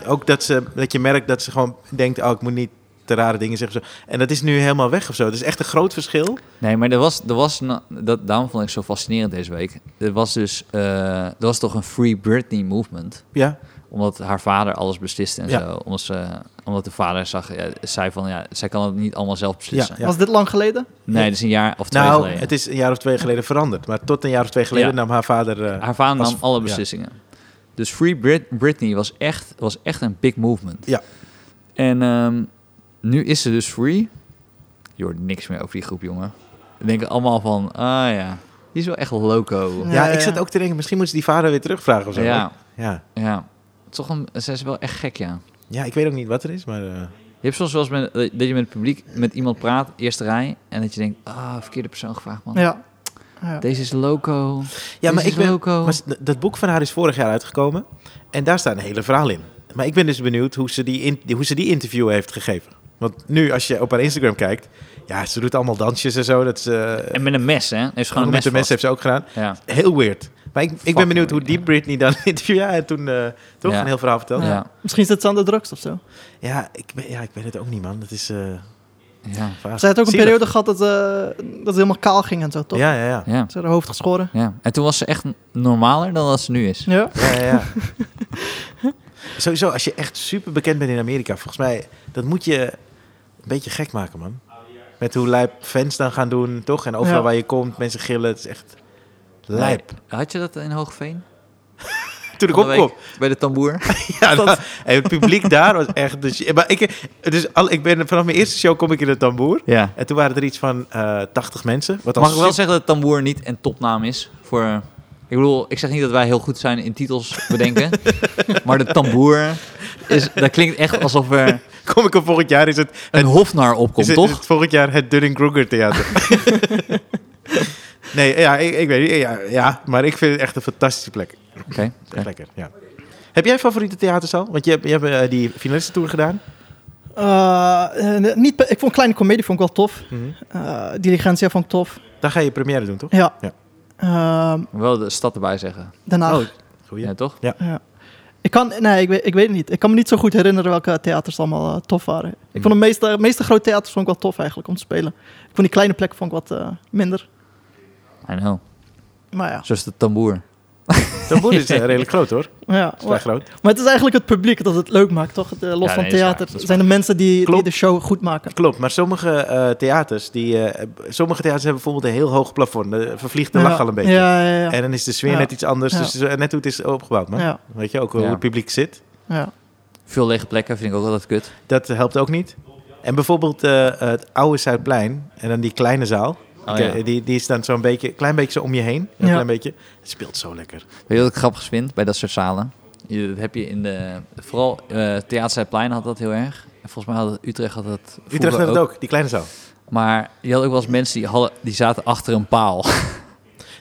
ook dat, ze, dat je merkt dat ze gewoon denkt... oh, ik moet niet te rare dingen zeggen. of zo. En dat is nu helemaal weg of zo. Dat is echt een groot verschil. Nee, maar er was, er was na- dat, daarom vond ik het zo fascinerend deze week. Er was dus eh, er was toch een Free Britney movement. Ja, Omdat haar vader alles besliste en Ja. zo. Omdat, ze, omdat de vader zag, ja, zei van ja, zij kan het niet allemaal zelf beslissen. Ja. Was dit lang geleden? Nee, dat is een jaar of twee nou, geleden. het is een jaar of twee geleden veranderd. Maar tot een jaar of twee geleden Ja. nam haar vader... eh, Haar vader was- nam alle ja. beslissingen. Dus Free Brit- Britney was echt, was echt een big movement. Ja. En ehm, nu is ze dus free. Je hoort niks meer over die groep, jongen. We denken allemaal van, ah ja, die is wel echt loco. ja, Ja, ik ja. zat ook te denken, misschien moeten ze die vader weer terugvragen of zo. Ja, Ja. ja. Toch een, ze is wel echt gek, ja. Ja, ik weet ook niet wat er is, maar... eh, Je hebt soms wel eens met, eh, dat je met het publiek met iemand praat, eerste rij, en dat je denkt, ah, verkeerde persoon gevraagd, man. Ja. ja. Deze is loco. Ja, maar Deze ik is ben, loco. Maar s- dat boek van haar is vorig jaar uitgekomen. En daar staat een hele verhaal in. Maar ik ben dus benieuwd hoe ze die, in- hoe ze die interview heeft gegeven. Want nu, als je op haar Instagram kijkt... Ja, ze doet allemaal dansjes en zo. Dat ze, En met een mes, hè? Heeft ze gewoon een mes met de mes heeft ze ook gedaan. vast. Ja. Heel weird. Maar ik, ik ben Fucking benieuwd hoe weird, die Britney dan interview... Ja, en toen eh, toch Ja. een heel verhaal verteld. Ja, Ja. Misschien zit ze aan de drugs of Ah, zo. ik, ben, ja ik weet het ook niet, man. Dat is eh Ja. vaag. Ze had ook een Zielig. periode gehad dat ze, dat ze helemaal kaal ging en zo, toch? Ja, ja, ja. ja. Ze had haar hoofd geschoren. Ja, en toen was ze echt normaler dan dat ze nu is. Ja. Ja, ja, ja. Sowieso, als je echt super bekend bent in Amerika, volgens mij, dat moet je een beetje gek maken, man. Met hoe lijp fans dan gaan doen, toch? En overal Ja. waar je komt, mensen gillen, het is echt lijp. Nee, had je dat in Hoogveen? Toen ik Van de week opkwam, Bij de tamboer? ja, dat, en het publiek daar was echt... De shi- maar ik, dus al, ik ben, vanaf mijn eerste show kom ik in het tamboer. ja. En toen waren er iets van eh 80 mensen. Wat al Mag ik wel super- zeggen dat tamboer niet een topnaam is voor... eh, Ik bedoel, ik zeg niet dat wij heel goed zijn in titels bedenken. maar de tamboer, is, dat klinkt echt alsof er Kom ik op volgend jaar, is het, een hofnar opkomt, is het, is toch? het volgend jaar het Dunning-Kruger Theater. nee, ja, ik, ik weet niet. Ja, ja, maar ik vind het echt een fantastische plek. Oké. oké. Echt lekker, ja. Heb jij favoriete theaterzaal? Want je hebt, je hebt eh, die finalistentour gedaan. Eh, eh, niet, pe- ik vond Kleine Comedie vond ik wel tof. Mhm. Eh Diligentia vond ik tof. Daar ga je première doen, toch? Ja. Ja. Ehm, Wel de stad erbij zeggen. daarna. Oh, goeie. Ja, toch? Ja. Ik kan, nee, ik weet, ik weet het niet. Ik kan me niet zo goed herinneren welke theaters allemaal eh, tof waren. Ik vond de meeste, meeste grote theaters vond ik wel tof eigenlijk om te spelen. Ik vond die kleine plekken vond ik wat eh, minder. I know. Maar ja. Zoals de tamboer. De boer is eh, redelijk groot, hoor. ja Vrij groot. Maar het is eigenlijk het publiek dat het leuk maakt, toch? De- los nee, van dat is waar, theater. dat is Het zijn de mensen die, die Klopt. de show goed maken. Klopt, maar sommige eh, theaters, die, eh, sommige theaters hebben bijvoorbeeld een heel hoog plafond. De vervliegt de ja. lach al een beetje. Ja, ja, ja. En dan is de sfeer Ja. net iets anders. Ja. Dus het is net hoe het is opgebouwd, man. Ja. Weet je, ook hoe Ja. het publiek zit. ja. Veel lege plekken vind ik ook altijd kut. Dat helpt ook niet. En bijvoorbeeld eh, het oude Zuidplein en dan die kleine zaal. Oh, die, ja. die, die is dan zo'n beetje, klein beetje zo om je heen. Een Ja. klein beetje. Het speelt zo lekker. Weet je wat ik grappig vind bij dat soort zalen? Je, dat heb je in de... Vooral eh Theater Zuidplein had dat heel erg. En volgens mij had het, Utrecht had dat vroeger Utrecht had het ook, die kleine zaal. Maar je had ook wel eens mensen die, hadden, die zaten achter een paal.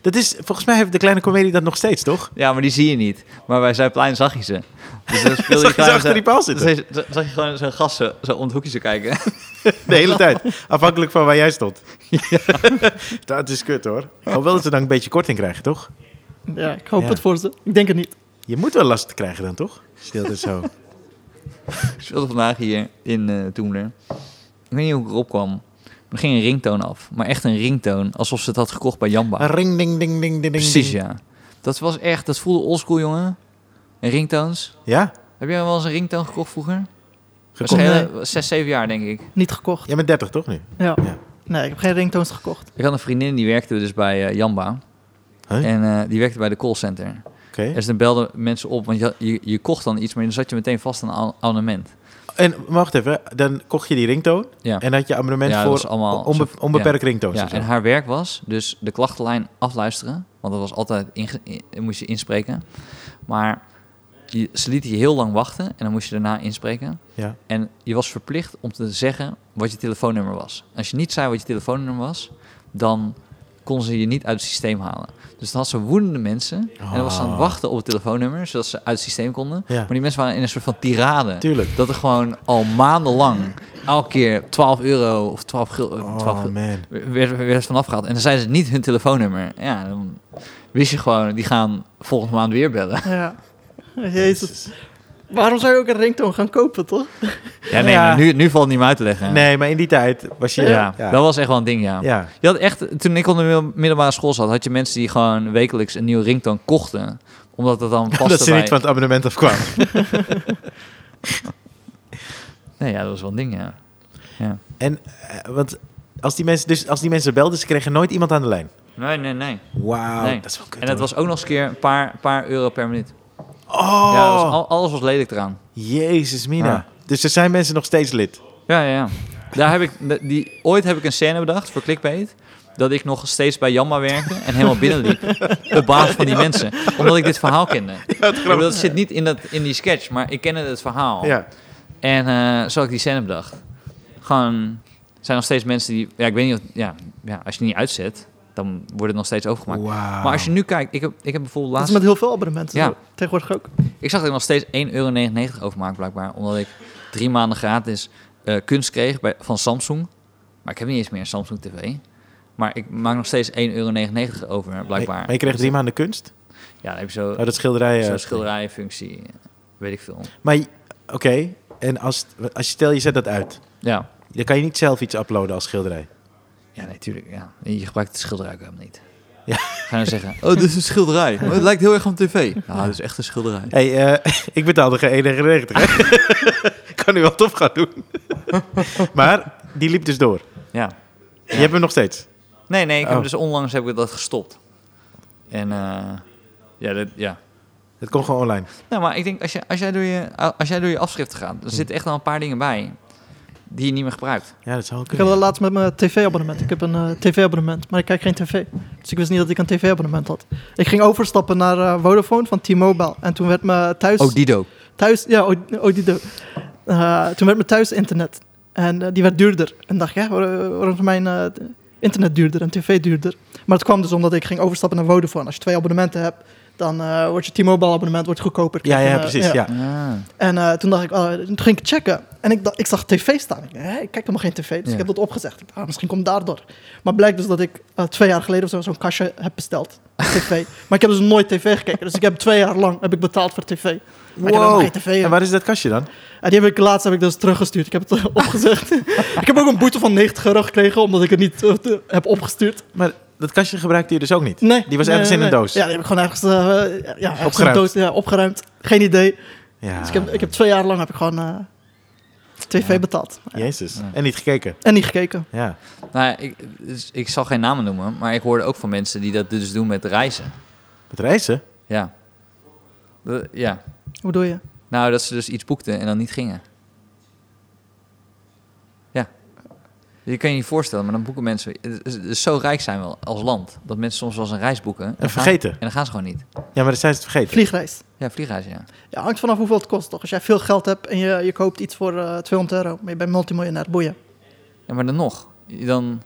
Dat is, volgens mij heeft de kleine comedie dat nog steeds, toch? ja, maar die zie je niet. Maar bij Zuidplein zag je ze. Dus dan speelde Zag je ze kleine achter die paal zitten? Dan zag je- zag je gewoon zo'n gast zo, zo om het hoekje zo kijken. De hele tijd. Afhankelijk van waar jij stond. dat is kut hoor. Hoewel dat ze dan een beetje korting krijgen, toch? ja, ik hoop Ja. het voor ze. Ik denk het niet. Je moet wel last krijgen dan, toch? Stilte zo. Ik speelde vandaag hier in eh Toemler. Ik weet niet hoe ik erop kwam. Er ging een ringtoon af. Maar echt een ringtoon. Alsof ze het had gekocht bij Jamba. Ring, ding, ding, ding, ding, ding. Precies, ding. ja. Dat was echt... Dat voelde oldschool, jongen. En ringtoons. Ja? Heb jij wel eens een ringtoon gekocht vroeger? Gekocht. Waarschijnlijk 6, 7 eh, jaar, denk ik. Niet gekocht. Jij bent 30 toch nu? Ja. Ja. Nee, ik heb geen ringtones gekocht. Ik had een vriendin die werkte dus bij eh, Jamba. Huh? En eh, die werkte bij de callcenter. Oké. Dus dan belden mensen op, want je, je, je kocht dan iets, maar dan zat je meteen vast aan een ab- abonnement. En wacht even, dan kocht je die ringtoon Ja. en had je abonnement Ja, dat voor was allemaal onbe- zo- onbeperkt ringtoons. ja, of zo. en haar werk was dus de klachtenlijn afluisteren, want dat was altijd, inge- in- moest je inspreken. Maar je, ze lieten je heel lang wachten en dan moest je daarna inspreken. Ja. En je was verplicht om te zeggen wat je telefoonnummer was. Als je niet zei wat je telefoonnummer was, dan kon ze je niet uit het systeem halen. Dus dan had ze woedende mensen. En dan was ze aan het Ah. wachten op het telefoonnummer, zodat ze uit het systeem konden. Ja. Maar die mensen waren in een soort van tirade. Tuurlijk. Dat er gewoon al maandenlang, elke keer 12 euro of 12 gul, eh, 12 Oh gul- man. werd, werd vanaf gehaald. En dan zeiden ze niet hun telefoonnummer. Ja, dan wist je gewoon, die gaan volgende maand weer bellen. Ja. Jezus. Waarom zou je ook een ringtone gaan kopen, toch? Ja, nee, Ja. maar nu, nu valt het niet meer uit te leggen. Nee, maar in die tijd was je... Ja, ja. dat was echt wel een ding, ja. Ja. Je had echt, toen ik op de mil- middelbare school zat, had je mensen die gewoon wekelijks een nieuwe ringtoon kochten. Omdat dat dan paste Dat ze bij... niet van het abonnement afkwamen. Nee, ja, dat was wel een ding, ja. ja. en eh, want als die, mensen, dus als die mensen belden, ze kregen nooit iemand aan de lijn. Nee, nee, nee. Wauw, Nee. Oh, dat is wel kut. En het hoor. was ook nog eens een keer een paar, paar euro per minuut. Oh, Ja, dat was al- alles was lelijk eraan. jezus mina. Ja. Dus er zijn mensen nog steeds lid. Ja, ja, ja. Daar heb ik, de- die, ooit heb ik een scène bedacht voor Clickbait. Dat ik nog steeds bij Jamma werkte en helemaal binnenliep. Op basis van die mensen. Omdat ik dit verhaal kende. Ik bedoel, dat zit niet in, dat, in die sketch, maar ik kende het verhaal. Ja. En eh, zo had ik die scène bedacht. Gewoon, er zijn nog steeds mensen die... Ja, ik weet niet of... Ja, ja als je het niet uitzet, dan wordt het nog steeds overgemaakt. Wauw. Maar als je nu kijkt... Ik heb, ik heb bijvoorbeeld Dat is laatst... met heel veel abonnementen. Ja. zo. Tegenwoordig ook. Ik zag dat ik nog steeds 1,99 euro overmaak blijkbaar. Omdat ik drie maanden gratis eh, kunst kreeg bij, van Samsung. Maar ik heb niet eens meer een Samsung TV. Maar ik maak nog steeds 1,99 euro over Maar, blijkbaar. je kreeg drie maanden kunst? Ja, dan heb je zo, Oh, dat schilderij... eh, zo'n schilderijenfunctie. Weet ik veel. Maar, je- oké. En als, als je stel, je zet dat uit. Ja, Dan kan je niet zelf iets uploaden als schilderij. ja natuurlijk. ja. En Je gebruikt het schilderij ook helemaal niet. Ja. Ga nou zeggen, oh, dit is een schilderij. Maar het lijkt heel erg op tv. Ah, dit is echt een schilderij. Hé, hey, eh, ik betaalde geen 1,99. hè. Ik kan nu wat op gaan doen. maar die liep dus door. Ja. Je hebt hem nog steeds. Nee, nee, ik heb Oh. dus onlangs heb ik dat gestopt. En eh, ja, dat, ja, Het komt gewoon online. Nou, maar ik denk, als, je, als, jij door je, als jij door je afschriften gaat, er zitten echt al een paar dingen bij die je niet meer gebruikt. Ja, dat zou ook Ik had kunnen. dat laatst met mijn tv-abonnement. Ik heb een eh, tv-abonnement, maar ik kijk geen tv. Dus ik wist niet dat ik een tv-abonnement had. Ik ging overstappen naar eh, Vodafone van T-Mobile. En toen werd me Oh, thuis... Dus- Dido. thuis ja, O- Odido. Eh, toen werd mijn thuis internet. En eh, die werd duurder. En dacht ik, hè, waar- waarom is mijn eh, internet duurder en tv duurder? Maar het kwam dus omdat ik ging overstappen naar Vodafone. Als je twee abonnementen hebt, dan eh, wordt je T-Mobile abonnement wordt goedkoper. Ja, Krijg je ja, een, eh, precies. Ja. Ah. en eh, toen dacht ik, oh, toen ging ik checken. En ik, dacht, ik zag tv staan. Ik, dacht, hè, ik kijk helemaal geen tv, dus Ja. ik heb dat opgezegd. Ik dacht, ah, misschien komt het daardoor. Maar blijkt dus dat ik eh, twee jaar geleden of zo zo'n kastje heb besteld. tv. Maar ik heb dus nooit tv gekeken. Dus ik heb twee jaar lang heb ik betaald voor tv. Maar ik heb helemaal geen tv. En waar is dat kastje dan? En die heb ik laatst heb ik dus teruggestuurd. Ik heb het eh, opgezegd. ik heb ook een boete van 90 euro gekregen, omdat ik het niet eh, te- heb opgestuurd. Maar dat kastje gebruikte je dus ook niet? Nee. Die was nee, ergens in nee. een doos? Ja, die heb ik gewoon ergens, eh, ja, ergens opgeruimd. Opgeruimd. Ah. doos ja, opgeruimd. Geen idee. Ja. Dus ik heb, ik heb twee jaar lang heb ik gewoon eh, tv betaald. Jezus. En niet gekeken. En niet gekeken. Ja. Nou, ik, dus ik zal geen namen noemen, maar ik hoorde ook van mensen die dat dus doen met reizen. Het reizen? Ja. De- ja. Hoe doe je? Nou, dat ze dus iets boekten en dan niet gingen. Ja. Je kan je niet voorstellen, maar dan boeken mensen... het is- het is Zo rijk zijn we als land, dat mensen soms wel eens een reis boeken... En, dan gaan- vergeten. En dan gaan ze gewoon niet. Ja, maar dan zijn ze het vergeten. Vliegreis. Ja, vliegreis, ja. Ja, hangt vanaf hoeveel het kost toch. Als jij veel geld hebt en je, je koopt iets voor eh, 200 euro, maar je bent multimiljonair, boeien. Ja, maar dan nog. Dan...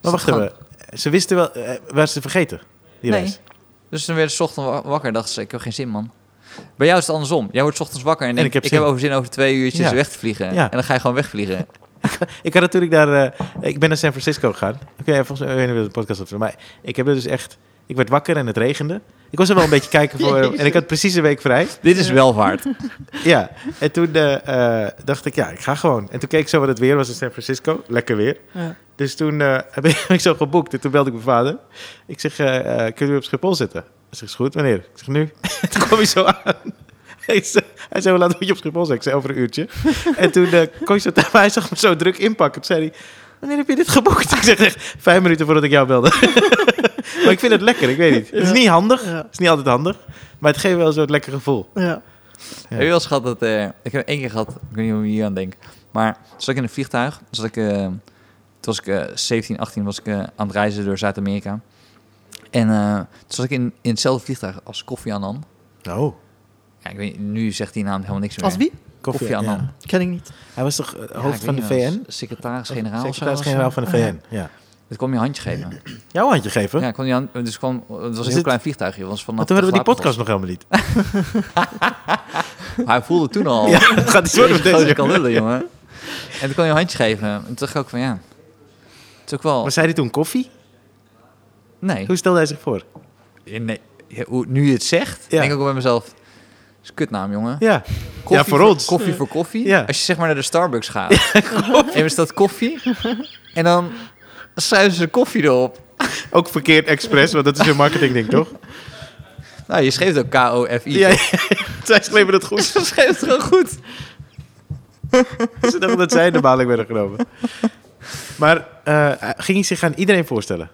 Maar wacht Gewoon- even. Ze wisten wel... eh, waren ze vergeten? Die Nee. reis. Dus dan werd ze ochtend wa- wakker en dacht ze, ik heb geen zin, man. Bij jou is het andersom. Jij wordt 's ochtends wakker en, denkt, ik ik, heb heb, zin. over zin over twee uurtjes Ja. weg te vliegen. Ja. En dan ga je gewoon wegvliegen. Ik had natuurlijk daar... eh, ik ben naar San Francisco gegaan. Oké, volgens mij... Ik weet niet of de podcast dat Maar ik heb er dus echt... Ik werd wakker en het regende. Ik was er wel een beetje kijken voor... Jezus. En ik had precies een week vrij. Dit is welvaart. Ja, en toen eh, eh, dacht ik, ja, ik ga gewoon. En toen keek ik zo wat het weer was in San Francisco. Lekker weer. Ja. Dus toen eh, heb ik- heb ik zo geboekt. En toen belde ik mijn vader. Ik zeg, eh eh kunnen we op Schiphol zitten? Hij zegt, is goed, wanneer? Ik zeg, nu. toen kwam hij zo aan. Hij zei, hij zei, hoe laat moet je op Schiphol zijn? Ik zei, over een uurtje. en toen eh kon hij zo... Maar hij zag me zo druk inpakken. Toen zei hij, Wanneer heb je dit geboekt? Ik zeg echt vijf minuten voordat ik jou belde. maar ik vind het lekker, ik weet niet. Het is niet handig, Ja. het is niet altijd handig. Maar het geeft wel zo'n lekker gevoel. Ja. Heb je wel eens gehad dat... eh, ik heb één keer gehad, ik weet niet hoe je hier aan denkt. Maar zat ik in een vliegtuig. Zat ik, eh, toen was ik eh, 17, 18 was ik eh, aan het reizen door Zuid-Amerika. En eh, toen zat ik in, in hetzelfde vliegtuig als Koffie Annan. Oh, Ja, ik weet, niet, nu zegt die naam helemaal niks meer. Als wie? Koffie ja. Annan. Ken ik niet. Hij was toch eh, Ja, hoofd ik van de weet niet, VN? als Secretaris-generaal. of zo eh, Secretaris-generaal van de VN, ja. Dat kwam je een handje geven. Jouw handje geven? Ja, ik kwam je hand, dus kwam, het was een heel het- klein vliegtuigje. Was vanaf maar toen hadden we die podcast Galapagos. nog helemaal niet. Maar Hij voelde toen al. Ja, dat gaat Oh, niet worden Deze met deze. gozer kan jongen. lullen, jongen. En toen kon je een handje geven. En toen dacht ik ook van, ja... Het is ook wel... Maar zei hij toen koffie? Nee. Hoe stelde hij zich voor? nee. Ja, hoe- Nu je het zegt, Ja. denk ik ook bij mezelf... Dat is een kutnaam, jongen. Ja, Koffie ja voor ons. Koffie voor koffie. Ja. Als je zeg maar naar de Starbucks gaat. en er staat koffie. En dan schuiven ze koffie erop. Ook verkeerd expres, want dat is een marketingding, toch? Nou, je schreef het ook K-O-F-I. Ja, ja. zij schreven het goed. Ze schreef het gewoon goed. Ze dachten dat zij de baling werden genomen. Maar eh, ging hij zich aan iedereen voorstellen?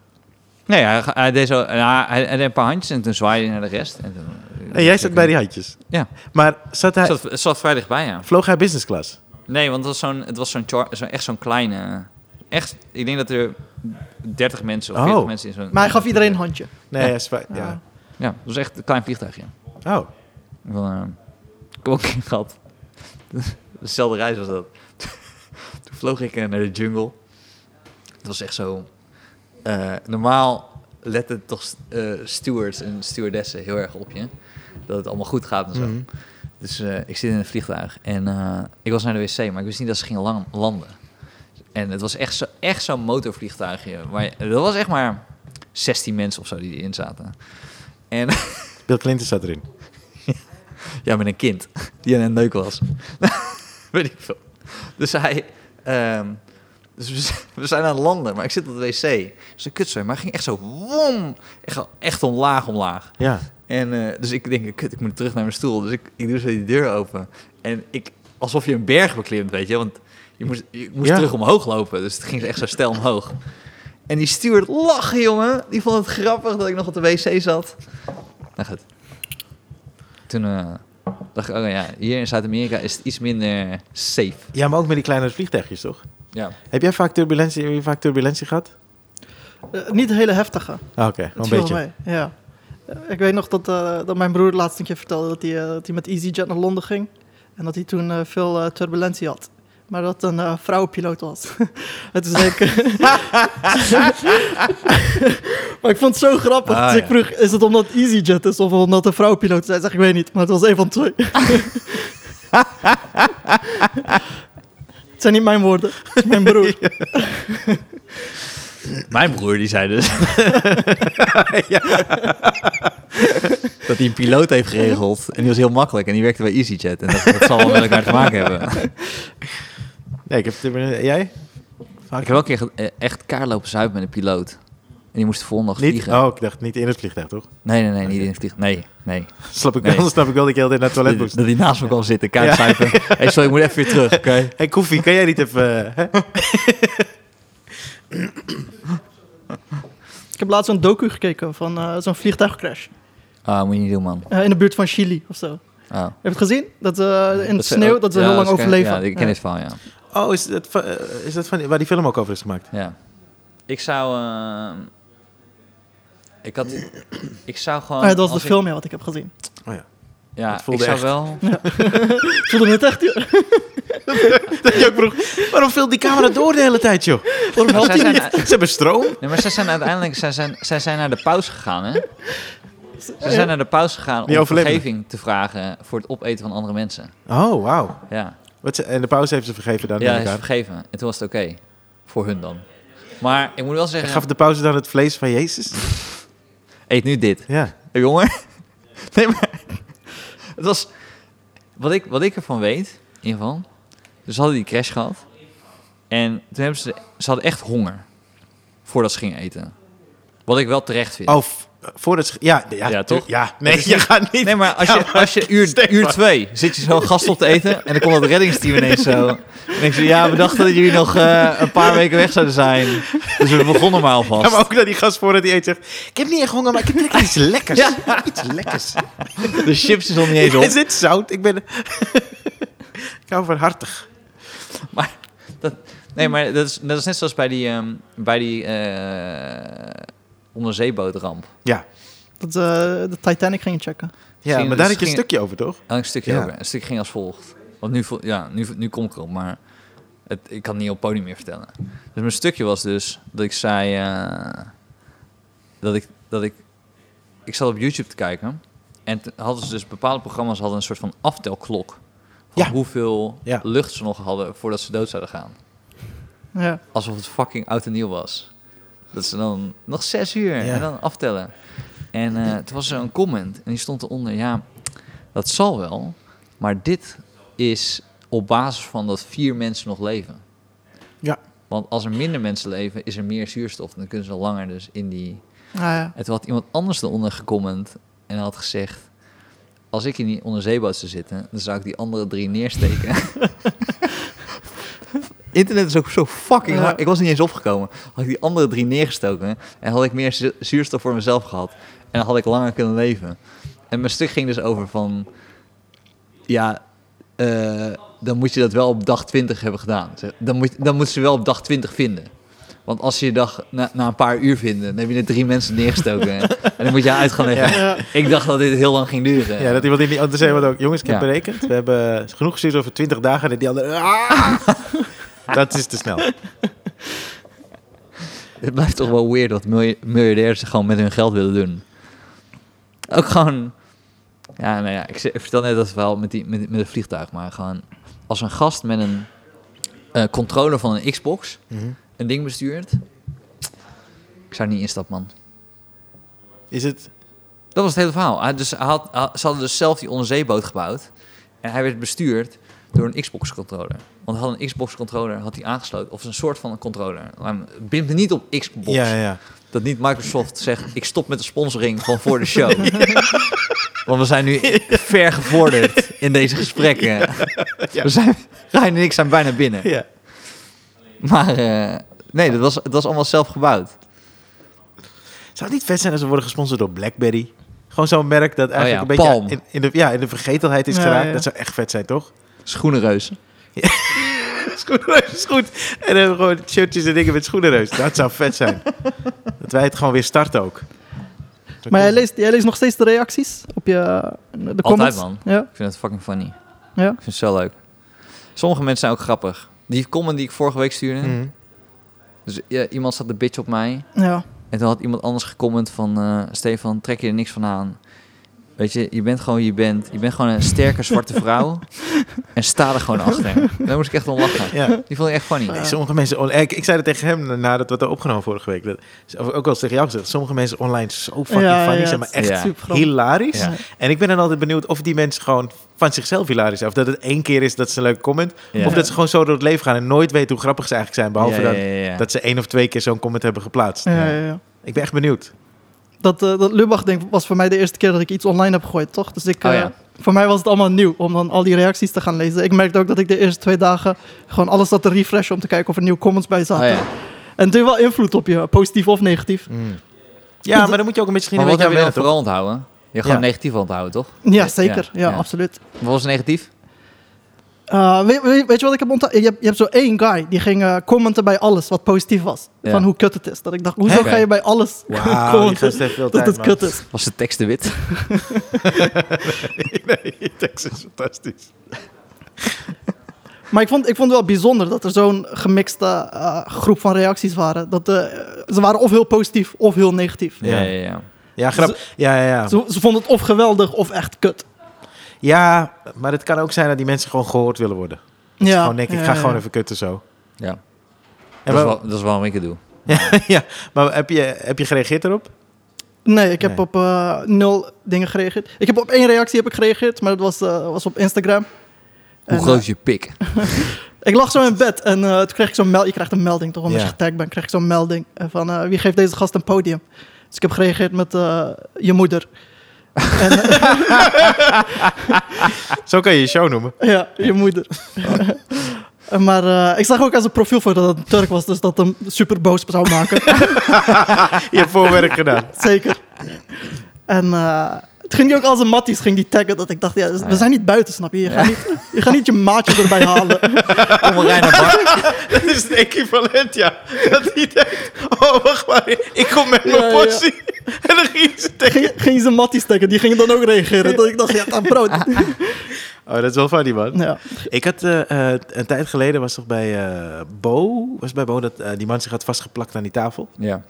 Nee, hij, hij deed zo, ja, hij, hij deed een paar handjes en toen zwaaide hij naar de rest. En, toen, En jij zat bij die handjes. Ja. Maar zat hij, Het zat, het zat vrij dichtbij, ja. vloog hij business class? Nee, want het was zo'n, het was zo'n char- zo, echt zo'n kleine... Echt, ik denk dat er 30 mensen of Oh. 40 mensen in zo'n... Maar hij gaf iedereen een handje. Nee, Ja. hij is wa- ja. Ja, het was echt een klein vliegtuigje. Oh, Ik wil, eh, ik heb ook een keer gehad. Dezelfde reis was dat. Toen vloog ik eh, naar de jungle. Het was echt zo... eh, normaal letten toch eh, stewards en stewardessen heel erg op je. Dat het allemaal goed gaat en zo. Dus eh, ik zit in een vliegtuig en eh, ik was naar de wc, maar ik wist niet dat ze gingen lang- landen. En het was echt zo'n echt zo'n motorvliegtuigje. Maar je- dat was echt maar 16 mensen of zo die erin zaten. En Bill Clinton zat erin. ja, met een kind die aan een neuk was. Weet ik veel. Dus hij... ehm, dus we z- we zijn aan het landen, maar ik zit op de wc. Dus ik kutzooi, maar hij ging echt zo wom. Echt, echt omlaag, omlaag. Ja. En eh, dus ik denk, kut, ik moet terug naar mijn stoel. Dus ik, ik doe zo die deur open. En ik, alsof je een berg beklimt, weet je. Want je moest, je moest Ja. terug omhoog lopen. Dus het ging echt zo stijl omhoog. En die steward lachen, jongen. Die vond het grappig dat ik nog op de wc zat. Nou goed. Toen eh, dacht ik, oh ja, hier in Zuid-Amerika is het iets minder safe. ja, maar ook met die kleinere vliegtuigjes, toch? Ja. Heb jij vaak turbulentie, heb je vaak turbulentie gehad? Eh, niet een hele heftige. Ah, Oké, wel Het een viel beetje. mee, ja. Eh, Ik weet nog dat, eh, dat mijn broer laatst een keer vertelde dat hij, eh, dat hij met EasyJet naar Londen ging. En dat hij toen eh, veel eh, turbulentie had. Maar dat een eh, vrouwenpiloot was. Het is denk ik... maar ik vond het zo grappig. Ah, dus ja. ik vroeg, is het omdat EasyJet is of omdat een vrouwenpiloot is? Hij zegt, ik weet niet. Maar het was een van de twee. het zijn niet mijn woorden. Het is mijn broer. Mijn broer die zei dus dat hij een piloot heeft geregeld. En die was heel makkelijk en die werkte bij EasyJet. En dat, dat zal wel met elkaar te maken hebben. Nee, ik heb turbulentie. Jij? Ik heb wel een keer ge- eh, echt kaar lopen zuipen met een piloot. En die moest de volgende dag Niet? vliegen. Oh, ik dacht niet in het vliegtuig, toch? Nee, nee, nee, niet in het vliegtuig. Nee, nee. Snap ik, Nee. wel, snap ik wel dat je altijd naar het toilet Dat moest. dat hij naast me kwam zitten, kaart zuipen. hey, sorry, ik moet even weer terug, oké? Hey Koefie, kan jij niet even... eh, hè? Ik heb laatst een docu gekeken van eh, zo'n vliegtuigcrash. Ah, moet je niet doen, man. Eh, in de buurt van Chili of zo. Heb Ah. je het gezien? Dat eh, in Dat het ze- sneeuw, dat ze ja, heel lang ken- overleven. Ja, ik ken Ja. dit verhaal, ja. Oh, is dat, van- eh, is dat van waar die film ook over is gemaakt? Ja. Ik zou... ehm, ik had... Ik zou gewoon... Ah, ja, dat was als de ik- film ja, wat ik heb gezien. Oh ja. Ja, Het voelde ik zou echt. wel... Ik voelde het echt, joh. Dat je ook vroeg, waarom vult die camera door de hele tijd, joh? Waarom helpt Zij hij zijn, niet? Ze hebben stroom. nee, maar zij zijn uiteindelijk zij zijn, zij zijn naar de paus gegaan, hè? Ze zijn naar de paus gegaan Die om overleven. vergeving te vragen voor het opeten van andere mensen. Oh, wauw. Ja, Wat ze- En de pauze heeft ze vergeven dan? ja Ja, hij is vergeven. En toen was het oké. Voor hun dan. Maar ik moet wel zeggen, Gaf de pauze dan het vlees van Jezus? eet nu dit. Ja. Hey, jongen. Nee, maar... Het was... Wat ik, wat ik ervan weet, in ieder geval... Dus ze hadden die crash gehad. En toen hebben ze... Ze hadden echt honger. Voordat ze gingen eten. Wat ik wel terecht vind. Of Oh, voor het... sch- Ja, ja, Ja, tu- toch? Ja, nee, je gaat niet... Nee, maar als je, als je uur, Stefan. uur twee zit je zo gast op te eten en dan komt het reddingsteam ineens zo. En ik zei, ja, we dachten dat jullie nog eh, een paar weken weg zouden zijn. Dus we begonnen maar Ja, maar alvast. ook dat die gast voor het eten zegt... Ik heb niet echt honger, maar ik heb trek in iets lekkers. Iets lekkers. De chips is nog niet eens op. Is dit zout? Ik ben... ik hou van hartig. Nee, maar dat is, dat is net zoals bij die, ehm, bij die eh, onderzeebootramp. Ja, Dat ze de Titanic gingen checken. ja Ging- dus maar daar had je een ging- stukje over, toch? En Oh, een stukje Ja. over. Een stuk ging als volgt. Want nu, vo- ja, nu, nu kom ik erop, maar het, ik kan het niet op het podium meer vertellen. Dus mijn stukje was dus dat ik zei... eh, dat ik... Dat ik, ik zat op YouTube te kijken. En t- hadden ze dus bepaalde programma's hadden een soort van aftelklok. Van Ja. hoeveel Ja. lucht ze nog hadden voordat ze dood zouden gaan. Ja. alsof het fucking oud en nieuw was. Dat ze dan nog zes uur Ja. en dan aftellen. En eh, toen was er een comment en die stond eronder. Ja, dat zal wel, maar dit is op basis van dat vier mensen nog leven. Ja. Want als er minder mensen leven, is er meer zuurstof. En dan kunnen ze langer dus in die... Ah, ja. En toen had iemand anders eronder gecomment en had gezegd... Als ik in die onderzeeboot zou zitten, dan zou ik die andere drie neersteken. Internet is ook zo fucking Ja. hard. Ik was niet eens opgekomen. Had ik die andere drie neergestoken en had ik meer zu- zuurstof voor mezelf gehad. En dan had ik langer kunnen leven. En mijn stuk ging dus over van... Ja, eh, dan moet je dat wel op dag 20 hebben gedaan. Zeg, Dan moet, dan moet ze wel op dag 20 vinden. Want als ze je dag na, na een paar uur vinden, dan heb je er drie mensen neergestoken. en dan moet je uit gaan leggen. Ja. Ik dacht dat dit heel lang ging duren. Ja, dat iemand in die andere zei wat ook. Jongens, ik heb Ja. berekend. We hebben genoeg gestuurd over 20 dagen. En die andere... "Ah!" dat is te snel. Het blijft toch wel weird dat milja- miljardairs het gewoon met hun geld willen doen. Ook gewoon... Ja, nou ja, ik, ze- ik vertel net dat verhaal met, die, met, met het vliegtuig. Maar gewoon als een gast met een eh, controller van een Xbox Mhm. een ding bestuurt... Ik zou er niet instappen, man. Is het... Dat was het hele verhaal. Hij, dus, hij had, hij- ze hadden dus zelf die onderzeeboot gebouwd. En hij werd bestuurd door een Xbox-controller. Want hij had een Xbox-controller had hij aangesloten. Of een soort van een controller. Laat me- Bind me niet op Xbox. Ja, ja, ja. Dat niet Microsoft zegt, ik stop met de sponsoring gewoon voor de show. Want we zijn nu ver gevorderd in deze gesprekken. Ja. We zijn, Ryan en ik zijn bijna binnen. ja. Maar eh, nee, dat was, dat was allemaal zelf gebouwd. Zou het niet vet zijn als we worden gesponsord door Blackberry? Gewoon zo'n merk dat eigenlijk Oh ja, een beetje Palm. in, in de, ja, in de vergetelheid is Ja, geraakt. ja. Dat zou echt vet zijn, toch? Schoenenreuzen. Schoenenreus is goed. En dan hebben we gewoon shirtjes en dingen met schoenenreus. Dat zou vet zijn. dat wij het gewoon weer starten ook. Maar jij leest, jij leest nog steeds de reacties op je eh, de comments? man. Ja, Ik vind het fucking funny. ja. Ik vind het zo leuk. Sommige mensen zijn ook grappig. Die comment die ik vorige week stuurde. Mhm. Dus ja, iemand zat de bitch op mij. ja. En toen had iemand anders gecomment van... eh, Stefan, trek je er niks van aan. Weet je, je bent gewoon je bent. Je bent gewoon een sterke zwarte vrouw. en sta er gewoon achter. Daar moest ik echt om lachen. Ja. Die vond ik echt funny. Nee, sommige mensen... on- Ik, ik zei dat tegen hem nadat we het opgenomen vorige week. Dat, of ook al eens tegen jou gezegd. Sommige mensen online zo fucking Ja, funny ja, zijn, maar het echt is Ja. super grappig. hilarisch. Ja. En ik ben dan altijd benieuwd of die mensen gewoon van zichzelf hilarisch zijn. Of dat het één keer is dat ze een leuke comment... Ja. Of dat ze gewoon zo door het leven gaan en nooit weten hoe grappig ze eigenlijk zijn. Behalve Ja, dat ja, ja, ja. dat ze één of twee keer zo'n comment hebben geplaatst. Ja, ja, ja. Ik ben echt benieuwd. Dat, eh, dat Lubach denk ik, was voor mij de eerste keer dat ik iets online heb gegooid, toch? Dus ik, Oh, eh, ja. voor mij was het allemaal nieuw om dan al die reacties te gaan lezen. Ik merkte ook dat ik de eerste twee dagen gewoon alles zat te refreshen om te kijken of er nieuwe comments bij Ah, zaten. ja. En het heeft wel invloed op je, positief of negatief. Ja, maar dan moet je ook een beetje Maar een wat heb beetje je aan dan wennen, toch? vooral onthouden? Je gewoon Ja. negatief onthouden, toch? Ja, zeker. Ja, Ja, ja. absoluut. Wat was negatief? Eh, weet, weet- weet je wat ik heb onthouden? Je, hebt- je hebt zo één guy die ging eh, commenten bij alles wat positief was. Ja. Van hoe kut het is. Dat ik dacht, hoezo Oké. ga je bij alles Wauw, die commenten gast heeft veel dat tijd, het man. kut is? Was de tekst te wit? Nee, Texas is fantastisch. Maar ik vond, ik vond het wel bijzonder dat er zo'n gemixte eh, groep van reacties waren. Dat, eh, ze waren of heel positief of heel negatief. Ja, ja, Ja. ja. Ja, grap. Ja, ja, ja. Ze, ze vonden het of geweldig of echt kut. Ja, maar het kan ook zijn dat die mensen gewoon gehoord willen worden. Dat ze Ja, gewoon denken, ik ja, ga ja. gewoon even kutten zo. ja. Dat, En is wa- wel, dat is waarom ik het doe. ja, maar heb je, heb je gereageerd erop? Nee, ik heb Nee. op eh, nul dingen gereageerd. Ik heb op één reactie heb ik gereageerd, maar dat was, eh, was op Instagram. Hoe En, groot is je pik? Ik lag zo in bed en eh, toen kreeg ik zo'n melding. Je krijgt een melding toch, omdat Ja. je getagd bent. kreeg ik zo'n melding eh, van eh, wie geeft deze gast een podium. Dus ik heb gereageerd met eh, je moeder. Zo kan je je show noemen. Ja, je moeder. maar eh, ik zag ook als een profiel voor dat het een Turk was, dus dat hem super boos zou maken. Je hebt voorwerk gedaan. Zeker. En eh, het ging die ook als een matties ging die taggen, dat ik dacht, ja, dus we zijn niet buiten, snap je? Je gaat, niet, je gaat niet je maatje erbij halen. Kom maar rij naar Bart. Dat is het equivalent, ja. Dat hij denkt, oh, wacht maar, ik kom met Ja, mijn ja. portie. En dan ging ze tegen... Ging, ging ze matties taggen, die gingen dan ook reageren. Dat ik dacht, ja, dan bro. dit- Oh, dat is wel funny, man. Ja, Ik had eh, eh, een tijd geleden, was toch bij eh, Bo, was bij Bo dat eh, die man zich had vastgeplakt aan die tafel. Ja.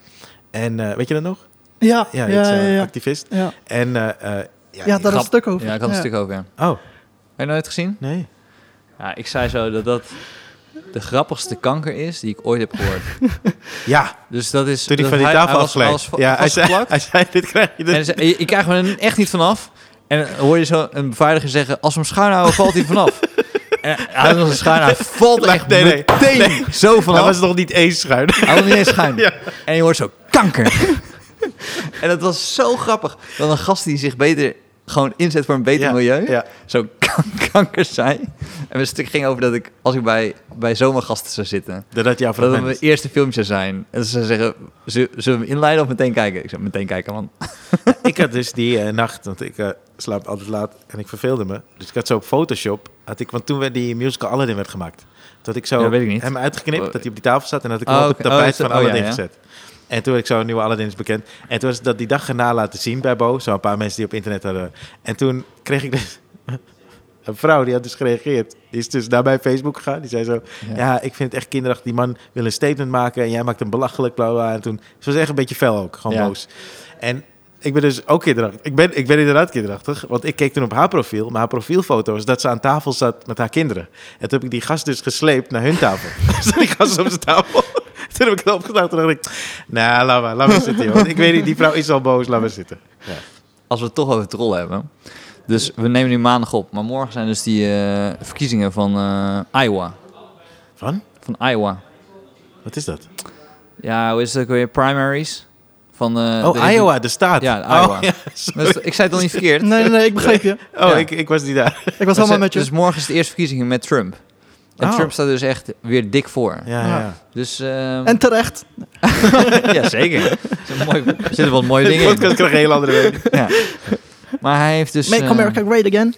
En eh, weet je dat nog? ja, ja, Ja, ja. iets, eh, ja, activist. ja. En eh, eh, ja, Ja, ik- daar is een stuk over. Ja, ik had een stuk over. ja. Oh, Heb je nooit gezien? nee. Ja, ik zei zo dat dat de grappigste kanker is die ik ooit heb gehoord. Ja, Dus dat is... toen hij dat van die hij- tafel hij was afgleed. alles va- Ja, hij zei, vastgeplakt. hij zei, dit krijg je. dus En Dit. hij zei, ik krijg me er echt niet vanaf. En dan hoor je zo een bevaardiger zeggen, als we hem schuin houden, valt hij vanaf. En hij had nog een schuin, hij valt er echt Nee, nee, meteen zo Dat vanaf. was nog niet eens schuin. Hij was niet eens schuin. Ja. En je hoort zo kanker. en dat was zo grappig. Dat een gast die zich beter gewoon inzet voor een beter Ja, milieu, ja. zo kan, kanker zei. En mijn stuk ging over dat ik, als ik bij, bij zomergasten zou zitten, Dat had jouw dat het fragment. mijn eerste filmpje zou zijn. En ze zou zeggen, "Zu- zullen we hem inleiden of meteen kijken? Ik zei, meteen kijken, man. ik had dus die eh, nacht, want ik eh, slaap altijd laat en ik verveelde me. Dus ik had zo op Photoshop, had ik, want toen werd die musical Aladdin werd gemaakt. Toen had ik zo Ja, weet ik niet. hem uitgeknipt, Oh. dat hij op die tafel zat en had ik Oh, hem op oké. het tapijt Oh, is- van oh, ja, Aladdin ja. gezet. En toen had ik zo een nieuwe Aladdin is bekend. En toen was dat die dag erna laten zien bij Bo, zo een paar mensen die op internet hadden. En toen kreeg ik dus een vrouw die had dus gereageerd. Die is dus naar mijn Facebook gegaan. Die zei zo, ja, Ja. ik vind het echt kinderachtig. Die man wil een statement maken en jij maakt hem belachelijk, bla, bla, bla. En toen, ze was echt een beetje fel ook, gewoon Ja. boos. En ik ben dus ook kinderachtig. Ik ben, ik ben inderdaad kinderachtig, want ik keek toen op haar profiel. Maar haar profielfoto is dat ze aan tafel zat met haar kinderen. En toen heb ik die gast dus gesleept naar hun tafel. dus die gast op zijn tafel. toen heb ik het opgedaan. Toen dacht ik, nou, laat maar, laat maar zitten, joh. Want Ik weet niet, die vrouw is al boos, laat maar zitten. Ja. Als we het toch over trollen hebben. Dus we nemen nu maandag op. Maar morgen zijn dus die eh, verkiezingen van eh, Iowa. Van? Van Iowa. Wat is dat? Ja, hoe is het ook weer? Primaries? Van, eh, Oh, de- Iowa, de staat. Ja, Oh, Iowa. ja, Dus ik zei het al niet verkeerd. Nee, nee, nee, ik begreep je. Oh, Ja. ik, ik was niet daar. Ik was helemaal met je. Dus morgen is de eerste verkiezingen met Trump. En Oh. Trump staat dus echt weer dik voor. Ja, ja. Ja. ja. Dus, ehm, En terecht. ja, zeker. Er zitten mooi- er zitten wat mooie De dingen in. podcast krijgt een hele andere week. Ja. Maar hij heeft dus... Make eh, America Great Again.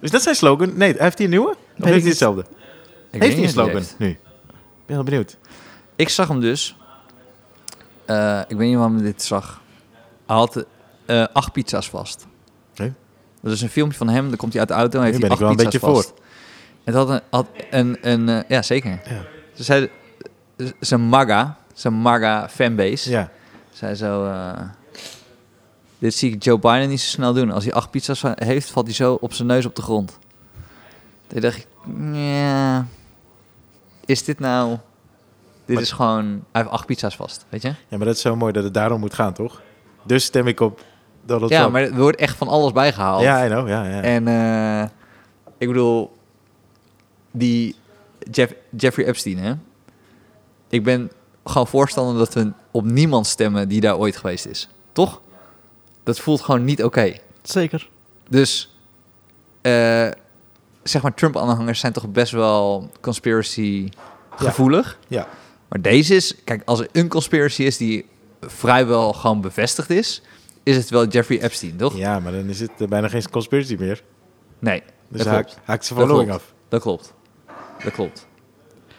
Is dat zijn slogan? Nee, heeft hij een nieuwe? Of ik heeft hij niet. hetzelfde? ik weet heeft hij een niet slogan direct. nu? Ik ben heel benieuwd. Ik zag hem dus. Eh, ik weet niet waarom ik dit zag. Hij had eh, acht pizza's vast. Oké. Dat is een filmpje van hem. Dan komt hij uit de auto en heeft ben hij ik acht wel een pizza's beetje vast. Het had een... Had een, een eh, ja, zeker. Ja. Ze zei... Zijn MAGA, zijn MAGA fanbase, Dus Ja. zei zo... eh, dit zie ik Joe Biden niet zo snel doen. Als hij acht pizza's va- heeft, valt hij zo op zijn neus op de grond. Toen dacht ik, ja, is dit nou... Dit Maar- is gewoon... Hij heeft acht pizza's vast, weet je? ja, maar dat is zo mooi dat het daarom moet gaan, toch? Dus stem ik op Donald ja, Trump. maar er wordt echt van alles bijgehaald. Ja, I know. Ja, ja. En eh, ik bedoel, die Jeff, Jeffrey Epstein, hè? Ik ben gewoon voorstander dat we op niemand stemmen die daar ooit geweest is. Toch? Dat voelt gewoon niet oké. Zeker. Dus, eh, zeg maar, Trump-aanhangers zijn toch best wel conspiracy gevoelig. ja. Maar deze is, kijk, als er een conspiracy is die vrijwel gewoon bevestigd is, is het wel Jeffrey Epstein, toch? ja, maar dan is het eh, bijna geen conspiracy meer. Nee. Dus dat haak, klopt. haakt ze Dat following klopt. af. Dat klopt. Dat klopt.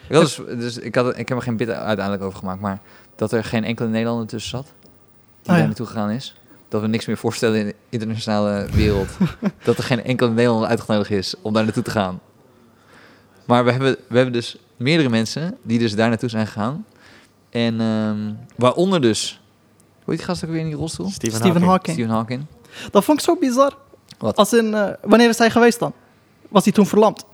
Ik, had dus, dus ik, had, ik heb er geen bit uiteindelijk over gemaakt, maar dat er geen enkele Nederlander tussen zat die daar Oh ja. naartoe gegaan is. Dat we niks meer voorstellen in de internationale wereld. dat er geen enkele Nederlander uitgenodigd is om daar naartoe te gaan. Maar we hebben, we hebben dus meerdere mensen die dus daar naartoe zijn gegaan. En ehm, waaronder dus, hoe heet die gast ook weer in die rolstoel? Stephen, Stephen Hawking. Hawking. Stephen Hawking. Dat vond ik zo bizar. Wat? Als in, eh, wanneer is hij geweest dan? Was hij toen verlamd?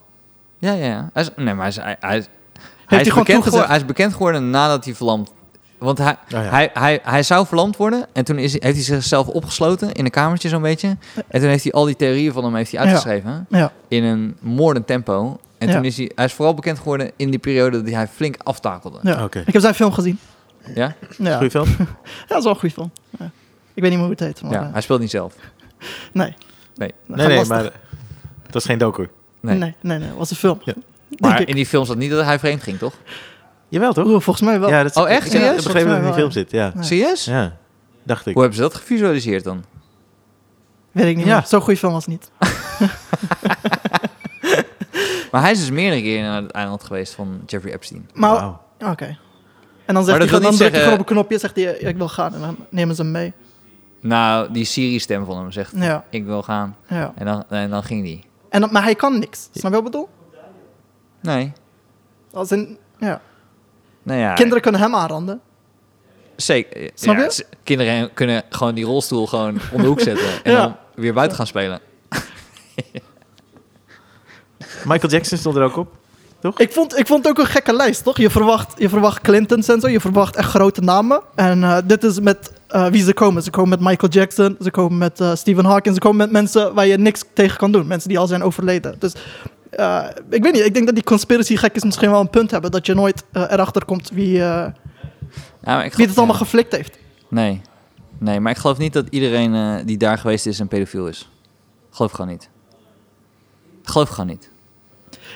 Ja, ja, ja. Hij is, nee, maar hij is, hij, hij is, hij hij is, gewoon bekend geworden, toegezegd? hij is bekend geworden nadat hij verlamd... Want hij, Oh, ja. hij, hij, hij zou verlamd worden en toen is, hij- heeft hij zichzelf opgesloten in een kamertje zo'n beetje. En toen heeft hij al die theorieën van hem heeft hij Ja. uitgeschreven Ja, in een moordend tempo. En Ja. toen is hij, hij is vooral bekend geworden in die periode dat hij flink aftakelde. ja. Oké. ik heb zijn film gezien. Ja? Ja, Goeie film? ja dat is wel een goede film. Ja. Ik weet niet meer hoe het heet. Maar, Ja, eh, hij speelt niet zelf. nee. Nee. Dat Nee, gaat nee, lastig. maar dat is geen docu. Nee. Nee, nee, nee, het was een film. Ja. Denk Maar ik. in die film zat niet dat hij vreemd ging, toch? Jawel, toch? Oeh, volgens mij wel. Ja, dat Oh, echt? Ik, Serieus? ik heb begrepen dat het in die film zit, Volgens ja. Nee. Serieus? Ja, dacht ik. Hoe hebben ze dat gevisualiseerd dan? Weet ik niet Ja. meer. Zo'n goede film was het niet. Maar hij is dus meerdere keren naar het eiland geweest van Jeffrey Epstein. Maar, Wauw. oké. En dan, zegt dat wil hij, dan niet drukt hij zeggen- gewoon op een knopje zegt hij, ik wil gaan. En dan nemen ze hem mee. Nou, die Siri-stem van hem zegt, Ja. ik wil gaan. Ja. En dan, en dan ging die. En, dan- maar hij kan niks. Snap je wat ik bedoel? Nee. Als in, ja. Nou ja, Kinderen kunnen hem aanranden. zeker. Snap ja, je? ze- kinderen kunnen gewoon die rolstoel gewoon om de hoek zetten. En Ja. dan weer buiten gaan spelen. Michael Jackson stond er ook op. Ik vond, ik vond het ook een gekke lijst, toch? Je verwacht, je verwacht Clintons en zo. Je verwacht echt grote namen. En eh, dit is met eh, wie ze komen. Ze komen met Michael Jackson. Ze komen met eh, Stephen Hawking. Ze komen met mensen waar je niks tegen kan doen. Mensen die al zijn overleden. Dus eh, ik weet niet. Ik denk dat die conspiracy gekjes misschien wel een punt hebben. Dat je nooit eh, erachter komt wie, eh, Ja, maar ik wie geloof- het allemaal geflikt heeft. Nee. Nee, maar ik geloof niet dat iedereen eh, die daar geweest is een pedofiel is. Geloof ik gewoon niet. Geloof ik gewoon niet.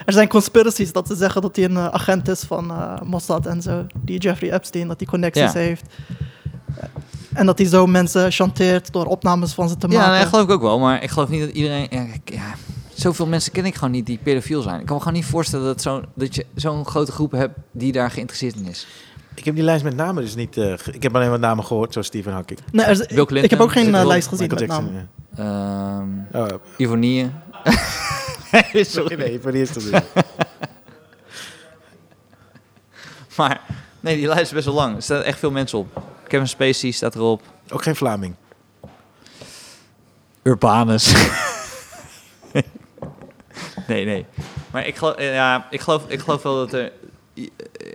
Er zijn conspiracies dat ze zeggen dat hij een eh, agent is van eh, Mossad en zo. Die Jeffrey Epstein, dat hij connecties Ja. heeft. En dat hij zo mensen chanteert door opnames van ze te ja, maken. nee, geloof ik ook wel. Maar ik geloof niet dat iedereen... Ja, ik- ja, zoveel mensen ken ik gewoon niet die pedofiel zijn. Ik kan me gewoon niet voorstellen dat, zo, dat je zo'n grote groep hebt die daar geïnteresseerd in is. Ik heb die lijst met namen dus niet... eh, ge- ik heb alleen wat namen gehoord, zoals Stephen Hawking. Nee, er is- Bill ik- ik Clinton, heb ook geen eh, Bill- lijst gezien Michael Jackson, met namen. Ehm ja. Oh, Ivonie. sorry, nee, voor de eerste Maar nee, die lijst is best wel lang. Er staan echt veel mensen op. Kevin Spacey staat erop. Ook geen Vlaming. Urbanus. nee, nee. Maar ik geloof, eh, ja, ik geloof, ik geloof wel dat, er, i- eh,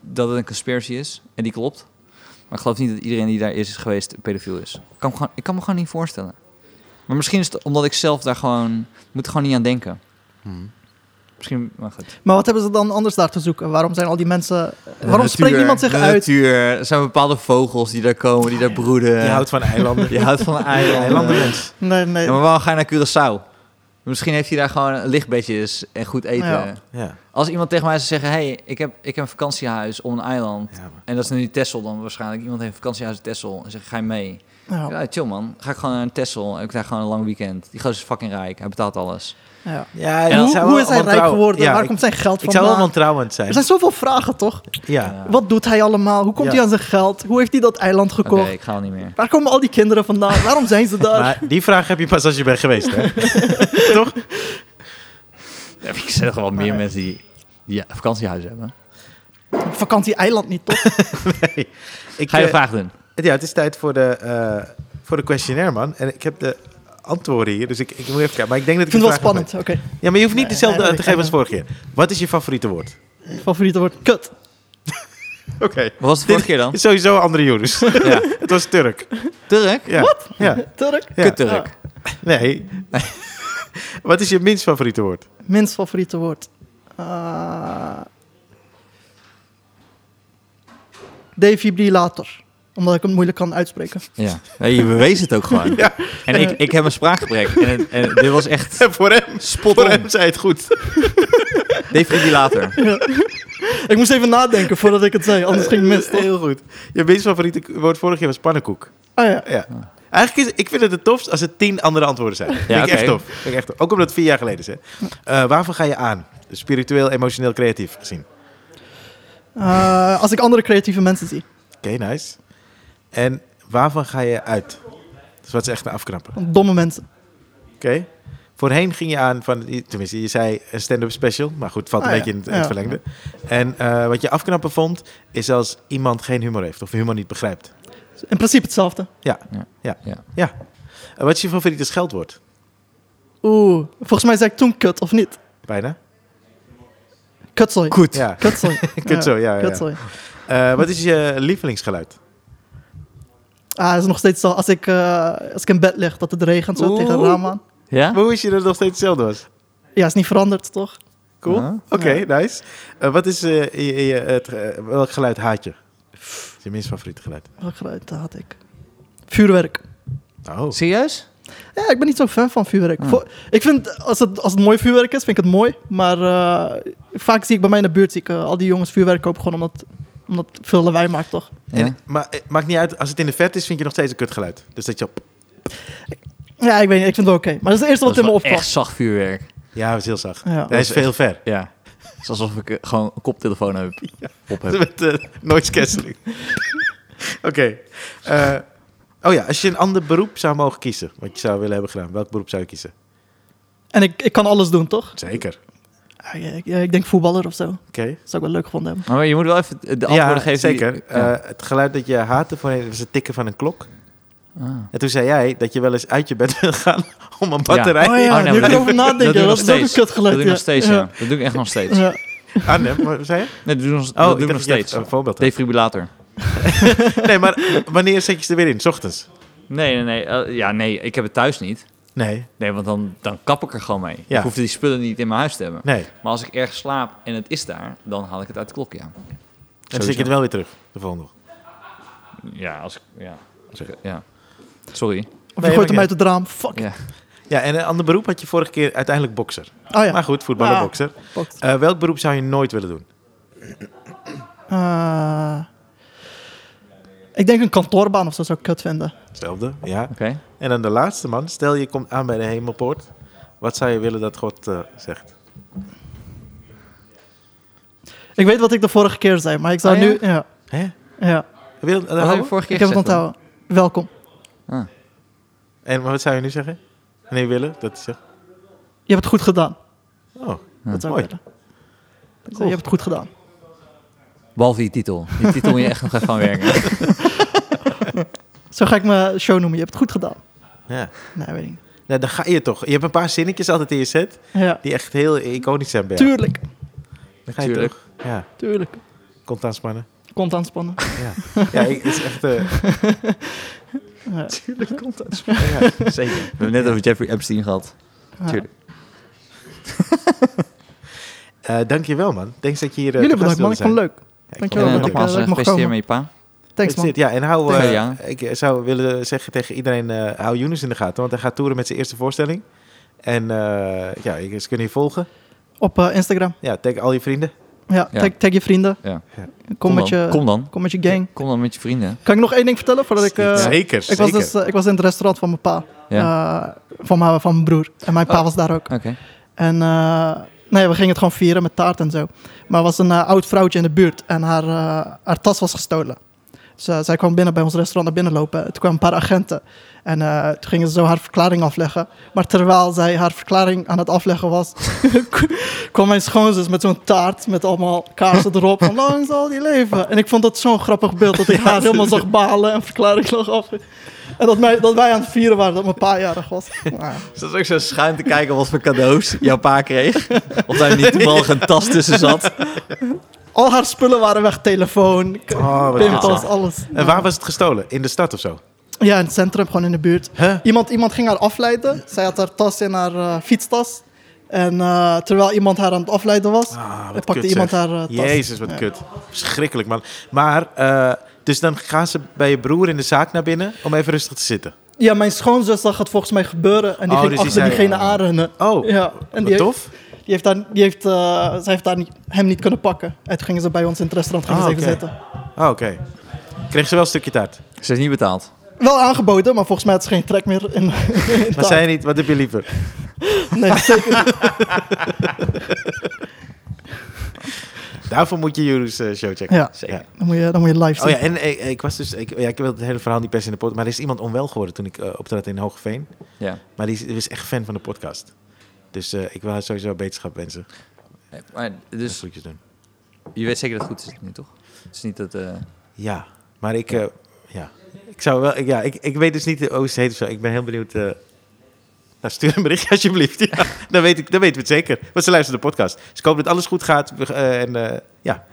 dat het een conspiracy is. En die klopt. Maar ik geloof niet dat iedereen die daar is, is geweest een pedofiel is. Ik kan, me gewoon, ik kan me gewoon niet voorstellen. Maar misschien is het omdat ik zelf daar gewoon... moet er gewoon niet aan denken. Misschien... Maar goed. Maar wat hebben ze dan anders daar te zoeken? Waarom zijn al die mensen... waarom spreekt niemand zich eh, uit? Natuur. Er zijn bepaalde vogels die daar komen, die daar broeden. Je houdt van eilanden. Je houdt van eilanden. Eilandenmens. Nee, nee. Ja, maar waarom ga je naar Curaçao? Misschien heeft hij daar gewoon een lichtbedjes en goed eten. Ja. Ja, Als iemand tegen mij zou zeggen, hey, ik heb, ik heb een vakantiehuis op een eiland. ja maar. En dat is nu Tessel dan waarschijnlijk. Iemand heeft een vakantiehuis in Tessel en zegt, ga je mee? Ja, Ja, chill man. Ga ik gewoon naar Tessel. Heb ik daar gewoon een lang weekend. Die gozer is fucking rijk. Hij betaalt alles. ja. Ja, En ik Hoe, zou hoe wel is hij rijk wantrouwen- geworden? Ja, Waar ik- komt zijn geld Ik zou wel vandaan? wantrouwend Er zijn. zijn zoveel vragen, toch? Ja. Wat doet hij allemaal? Hoe komt Ja. hij aan zijn geld? Hoe heeft hij dat eiland Oké, gekocht? ik ga al niet meer. Waar komen al die kinderen vandaan? Waarom zijn ze daar? Maar die vraag heb je pas als je bent geweest, hè? Toch? Ik zeg er wel meer mensen die, die ja, vakantiehuis hebben. Vakantie-eiland niet, toch? Ik, Ga je eh, vraag doen? Ja, het is tijd voor de, eh, voor de questionnaire, man. En ik heb de antwoorden hier, dus ik, ik moet even kijken. Maar ik denk dat Ik ik die vind het wel vraag nog spannend. Oké. weet. Ja, maar je hoeft niet Nee, dezelfde nee, aan dat te weet geven ik als vorige keer. Wat is je favoriete woord? Favoriete woord. Kut. Oké. Wat was het vorige keer dan? Dit is sowieso andere Joris. Ja. het was Turk. Turk? Ja. Wat? Ja. Turk. Ah, Ja. Kut-Turk. Nee. Wat is je minst favoriete woord? Minst favoriete woord. Eh defibrillator. Omdat ik het moeilijk kan uitspreken. Ja, nee, je bewees het ook gewoon. En ik, ik heb een spraakgebrek. En, het- en dit was echt voor hem, spot voor on. hem zei het goed. Defibrillator. Ik moest even nadenken voordat ik het zei, anders ging het mis. toch? Heel goed. Je minst favoriete woord vorig jaar was pannenkoek. Ah ja. Ja. Eigenlijk is, ik vind het het tofst als er tien andere antwoorden zijn. vind, ik oké. echt tof. vind ik echt tof. Ook omdat het vier jaar geleden is. Hè. Eh, waarvoor ga je aan? Spiritueel, emotioneel, creatief gezien. Eh, als ik andere creatieve mensen zie. Oké, nice. En waarvan ga je uit? Dus wat is echt een afknapper. Oké. Domme mensen. Voorheen ging je aan van, tenminste, je zei een stand-up special. Maar goed, valt een Ah, ja. beetje in het, in het Ja. verlengde. En eh, wat je afknappen vond, is als iemand geen humor heeft of humor niet begrijpt. In principe hetzelfde. Ja, Ja. ja, ja. Ja. En wat is je favoriete scheldwoord? Oeh, volgens mij zei ik toen kut, of niet? Bijna. Kutzooi. Goed. Ja. Kutzooi. Kutzooi, ja, ja, ja. Kutzooi. Eh, wat is je lievelingsgeluid? Ah, het is nog steeds zo. Als ik, eh, als ik in bed lig, dat het regent zo Oeh. tegen het raam aan. Ah. Ja? Maar hoe is je dat het nog steeds hetzelfde was? Ja, is niet veranderd, toch? Cool. Ja. Oké, nice. Eh, wat is eh, je, je- het, eh, welk geluid haat je? Dat is je minst favoriete geluid. Welk geluid had ik? Vuurwerk. Oh. Serieus? Ja, ik ben niet zo fan van vuurwerk. Ah. Voor- ik vind, als het, als het mooi vuurwerk is, vind ik het mooi. Maar eh, vaak zie ik bij mij in de buurt zie ik, eh, al die jongens vuurwerk kopen gewoon omdat, omdat het veel lawaai maakt, toch? Ja. En, maar eh, maakt niet uit, als het in de vet is, vind je nog steeds een kutgeluid. Dus dat je op... Ja, ik weet niet, ik vind het oké. Maar dat is het eerste Dat wat is in me wel opkwam. echt zacht vuurwerk. Ja, dat is heel zacht. Ja. Hij is veel ver. Ja. Het is alsof ik eh, gewoon een koptelefoon heb. op heb. Met eh, noise cancelling. Oké. eh, oh ja, als je een ander beroep zou mogen kiezen, wat je zou willen hebben gedaan, welk beroep zou je kiezen? En ik, ik kan alles doen, toch? Zeker. Ah, ja, ik, ja, ik denk voetballer of zo. Dat Oké. zou ik wel leuk gevonden hebben. Maar je moet wel even de antwoorden Ja, geven. die- zeker. ja. Eh, het geluid dat je haatte voorheen was het tikken van een klok. Ah. En toen zei jij dat je wel eens uit je bed wil gaan om een batterij. Oh ja, Oh, nee, maar nu kan ik dat- dat over doe ik nadenken. nog Dat, is ook een steeds. Dat kutgeluid. doe ik nog steeds, ja. Dat doe ik echt nog steeds. Ja. Ah, nee, wat zei je? Nee, dat doe ik nog, Oh, dat doe ik nog dacht je steeds. had Een voorbeeld. had. Defibrillator. Nee, maar wanneer zet je ze er weer in? 's ochtends? Nee, nee, nee. Eh, ja, nee, ik heb het thuis niet. Nee, Nee, want dan, dan kap ik er gewoon mee. Ja. Ik hoef die spullen niet in mijn huis te hebben. nee. Maar als ik ergens slaap en het is daar, dan haal ik het uit de klok, ja. Dan zet je het wel weer terug, de volgende. Ja, als ik... Ja. Als ik- ja. Sorry. Of je Nee, gooit hem maar uit het raam. Fuck. Ja. Ja, en een ander beroep had je vorige keer uiteindelijk bokser. Ah ja. Maar goed, voetballer, Ah. bokser. Fuck. Eh, welk beroep zou je nooit willen doen? Ah. ik denk een kantoorbaan of zo zou ik kut vinden. Hetzelfde, ja. Oké. En dan de laatste man. Stel je komt aan bij de hemelpoort. Wat zou je willen dat God eh, zegt? Ik weet wat ik de vorige keer zei, maar ik zou Oh ja? nu... Ja, Hè? ja. Wil, eh, Wat heb je houden? vorige keer Ik heb het gezegd dan? onthouden. Welkom. en maar wat zou je nu zeggen? Nee, willen? Dat is, Je hebt het goed gedaan. oh, Dat zou mooi. ik willen. Ik zei, Je hebt het goed gedaan. Behalve je titel. Je titel moet je echt nog even aan werken. Zo ga ik mijn show noemen. Je hebt het goed gedaan. ja. Nee, weet ik niet. Nou, dan ga je toch. Je hebt een paar zinnetjes altijd in je set Ja. die echt heel iconisch zijn bij jou. Tuurlijk. Dan ga je Tuurlijk. toch. Ja, Tuurlijk. kont aanspannen. Kont aanspannen. Ja, ja ik, het is echt... eh, Tuurlijk komt dat. ja. Zeker. We hebben het net over Jeffrey Epstein gehad. Ja. Tuurlijk. Eh, dankjewel, man. Thanks dat je hier eh, Jullie te gast bedankt, man. wilde Ik vond het zijn. Ja, ik leuk. vond Dank je het wel. en eh, heel dat leuk, ik, man. nogmaals, eh, dat ik eh, mag gefeliciteerd komen. met je pa. Thanks, That's man. it. Ja, en hou, Tegen eh, jou. ik zou willen zeggen tegen iedereen, eh, hou Younes in de gaten. Want hij gaat toeren met zijn eerste voorstelling. En eh, ja, je- ze kunnen je volgen. Op eh, Instagram. Ja, tag al je vrienden. Ja, Ja. Tag, tag je vrienden. Ja. Kom, met dan. je, kom. Kom dan. met je gang. Kom dan met je vrienden. Kan ik nog één ding vertellen voordat ik... eh, zeker, ik was, dus, eh, ik was in het restaurant van mijn pa. Eh, van, mijn, van mijn broer. En mijn pa Oh. was daar ook. Oké. En eh, nee, we gingen het gewoon vieren met taart en zo. Maar er was een eh, oud vrouwtje in de buurt en haar, eh, haar tas was gestolen. Dus eh, zij kwam binnen bij ons restaurant naar binnen lopen. Toen kwamen een paar agenten. En eh, toen gingen ze zo haar verklaring afleggen. Maar terwijl zij haar verklaring aan het afleggen was, kwam mijn schoonzus met zo'n taart met allemaal kaarsen erop. Van lang zal die leven. En ik vond dat zo'n grappig beeld dat ik haar helemaal zag balen en verklaring lag af. En dat, mij, dat wij aan het vieren waren dat mijn pa jarig was. Nou, Zat ook zo schuin te kijken wat voor cadeaus jouw pa kreeg. Of hij niet toevallig een tas tussen zat. Al haar spullen waren weg. Telefoon, k- Oh, wat pimpels, goed. alles. En waar was het gestolen? In de stad of zo? Ja, in het centrum, gewoon in de buurt. Huh? Iemand, iemand ging haar afleiden. Zij had haar tas in haar eh, fietstas. En eh, terwijl iemand haar aan het afleiden was, Ah, wat pakte kut, iemand zeg. haar eh, tas. Jezus, wat Ja. kut. Verschrikkelijk, man. Maar, eh, dus dan gaan ze bij je broer in de zaak naar binnen om even rustig te zitten. Ja, mijn schoonzus zag het volgens mij gebeuren. En die Oh, ging dus die achter zei- diegene aanrennen. Oh, ja, en die wat tof. Heeft, die heeft daar, die heeft, eh, zij heeft daar niet, hem niet kunnen pakken. En toen gingen ze bij ons in het restaurant gingen Ah, ze even oké. zitten. Oh, oké. Kreeg ze wel een stukje taart. Ze is niet betaald. Wel aangeboden, maar volgens mij had ze geen trek meer in, in Maar taart. zei je niet, wat heb je liever? Nee, zeker niet. Daarvoor moet je Jurus eh, show checken. Ja. Dan moet je, dan moet je live zien. Oh ja, en eh, ik was dus, ik, ja, ik wil het hele verhaal niet per se in de podcast, maar er is iemand onwel geworden toen ik eh, optrad in Hoogveen. Ja. Maar die is, die is echt fan van de podcast. Dus eh, ik wil haar sowieso beterschap wensen. Maar, Dus dus doen. je weet zeker dat het goed is nu, toch? Het is niet dat... eh, Ja, maar ik, eh, ja, ik zou wel, ik, ja, ik, ik weet dus niet hoe ze heet of zo. Ik ben heel benieuwd. eh. nou, stuur een berichtje alsjeblieft. Ja, dan, weet ik, dan weten we het zeker. Want ze luisteren de podcast. Dus ik hoop dat alles goed gaat. We- eh, en eh, ja.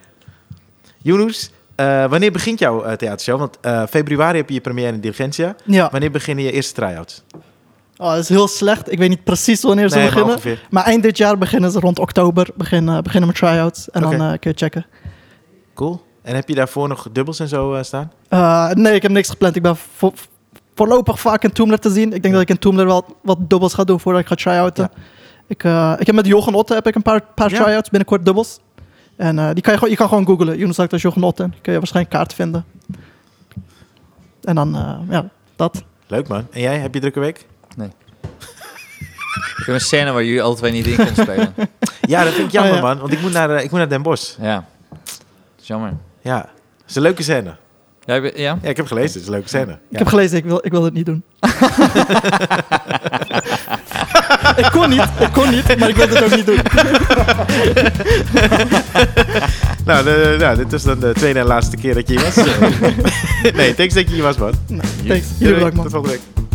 Yunus, eh, wanneer begint jouw eh, theatershow? Want eh, februari heb je je première in Diligentia. ja. Wanneer beginnen je eerste try-outs? Oh, dat is heel slecht. Ik weet niet precies wanneer ze Nee, maar beginnen. ongeveer. Maar, eind dit jaar beginnen ze rond oktober. Beginnen, beginnen met try-outs. En Oké. dan eh kun je checken. Cool. En heb je daarvoor nog dubbels en zo eh, staan? Eh, nee, ik heb niks gepland. Ik ben vo- voorlopig vaak in Toomler te zien. Ik denk dat ik in Toomler wel wat dubbels ga doen voordat ik ga try-outen. Ik, eh, ik heb met Jochen Otte heb ik een paar, paar Ja. try-outs, binnenkort dubbels. En eh, die kan je, gewoon, je kan gewoon googlen. Jonas Actas Jochen Otte. Dan kun je waarschijnlijk kaart vinden. En dan, eh, ja, dat. Leuk man. En jij, heb je drukke week? Ik heb een scène waar jullie alle twee niet in kunnen spelen. Ja, dat vind ik jammer Ah, ja. man, want ik moet naar, eh, ik moet naar Den Bosch. Ja. Dat is jammer. Ja, het is een leuke scène. Ja? heb je- ja? Ja, ik heb gelezen, het is een leuke scène. Ja. Ik heb gelezen, ik wil, ik wil het niet doen. ik kon niet, ik kon niet, maar ik wilde het ook niet doen. Nou, de- nou, dit is dan de tweede en laatste keer dat je hier was. nee, thanks dat je hier was man. Thanks, jullie bedankt man. Tot volgende week.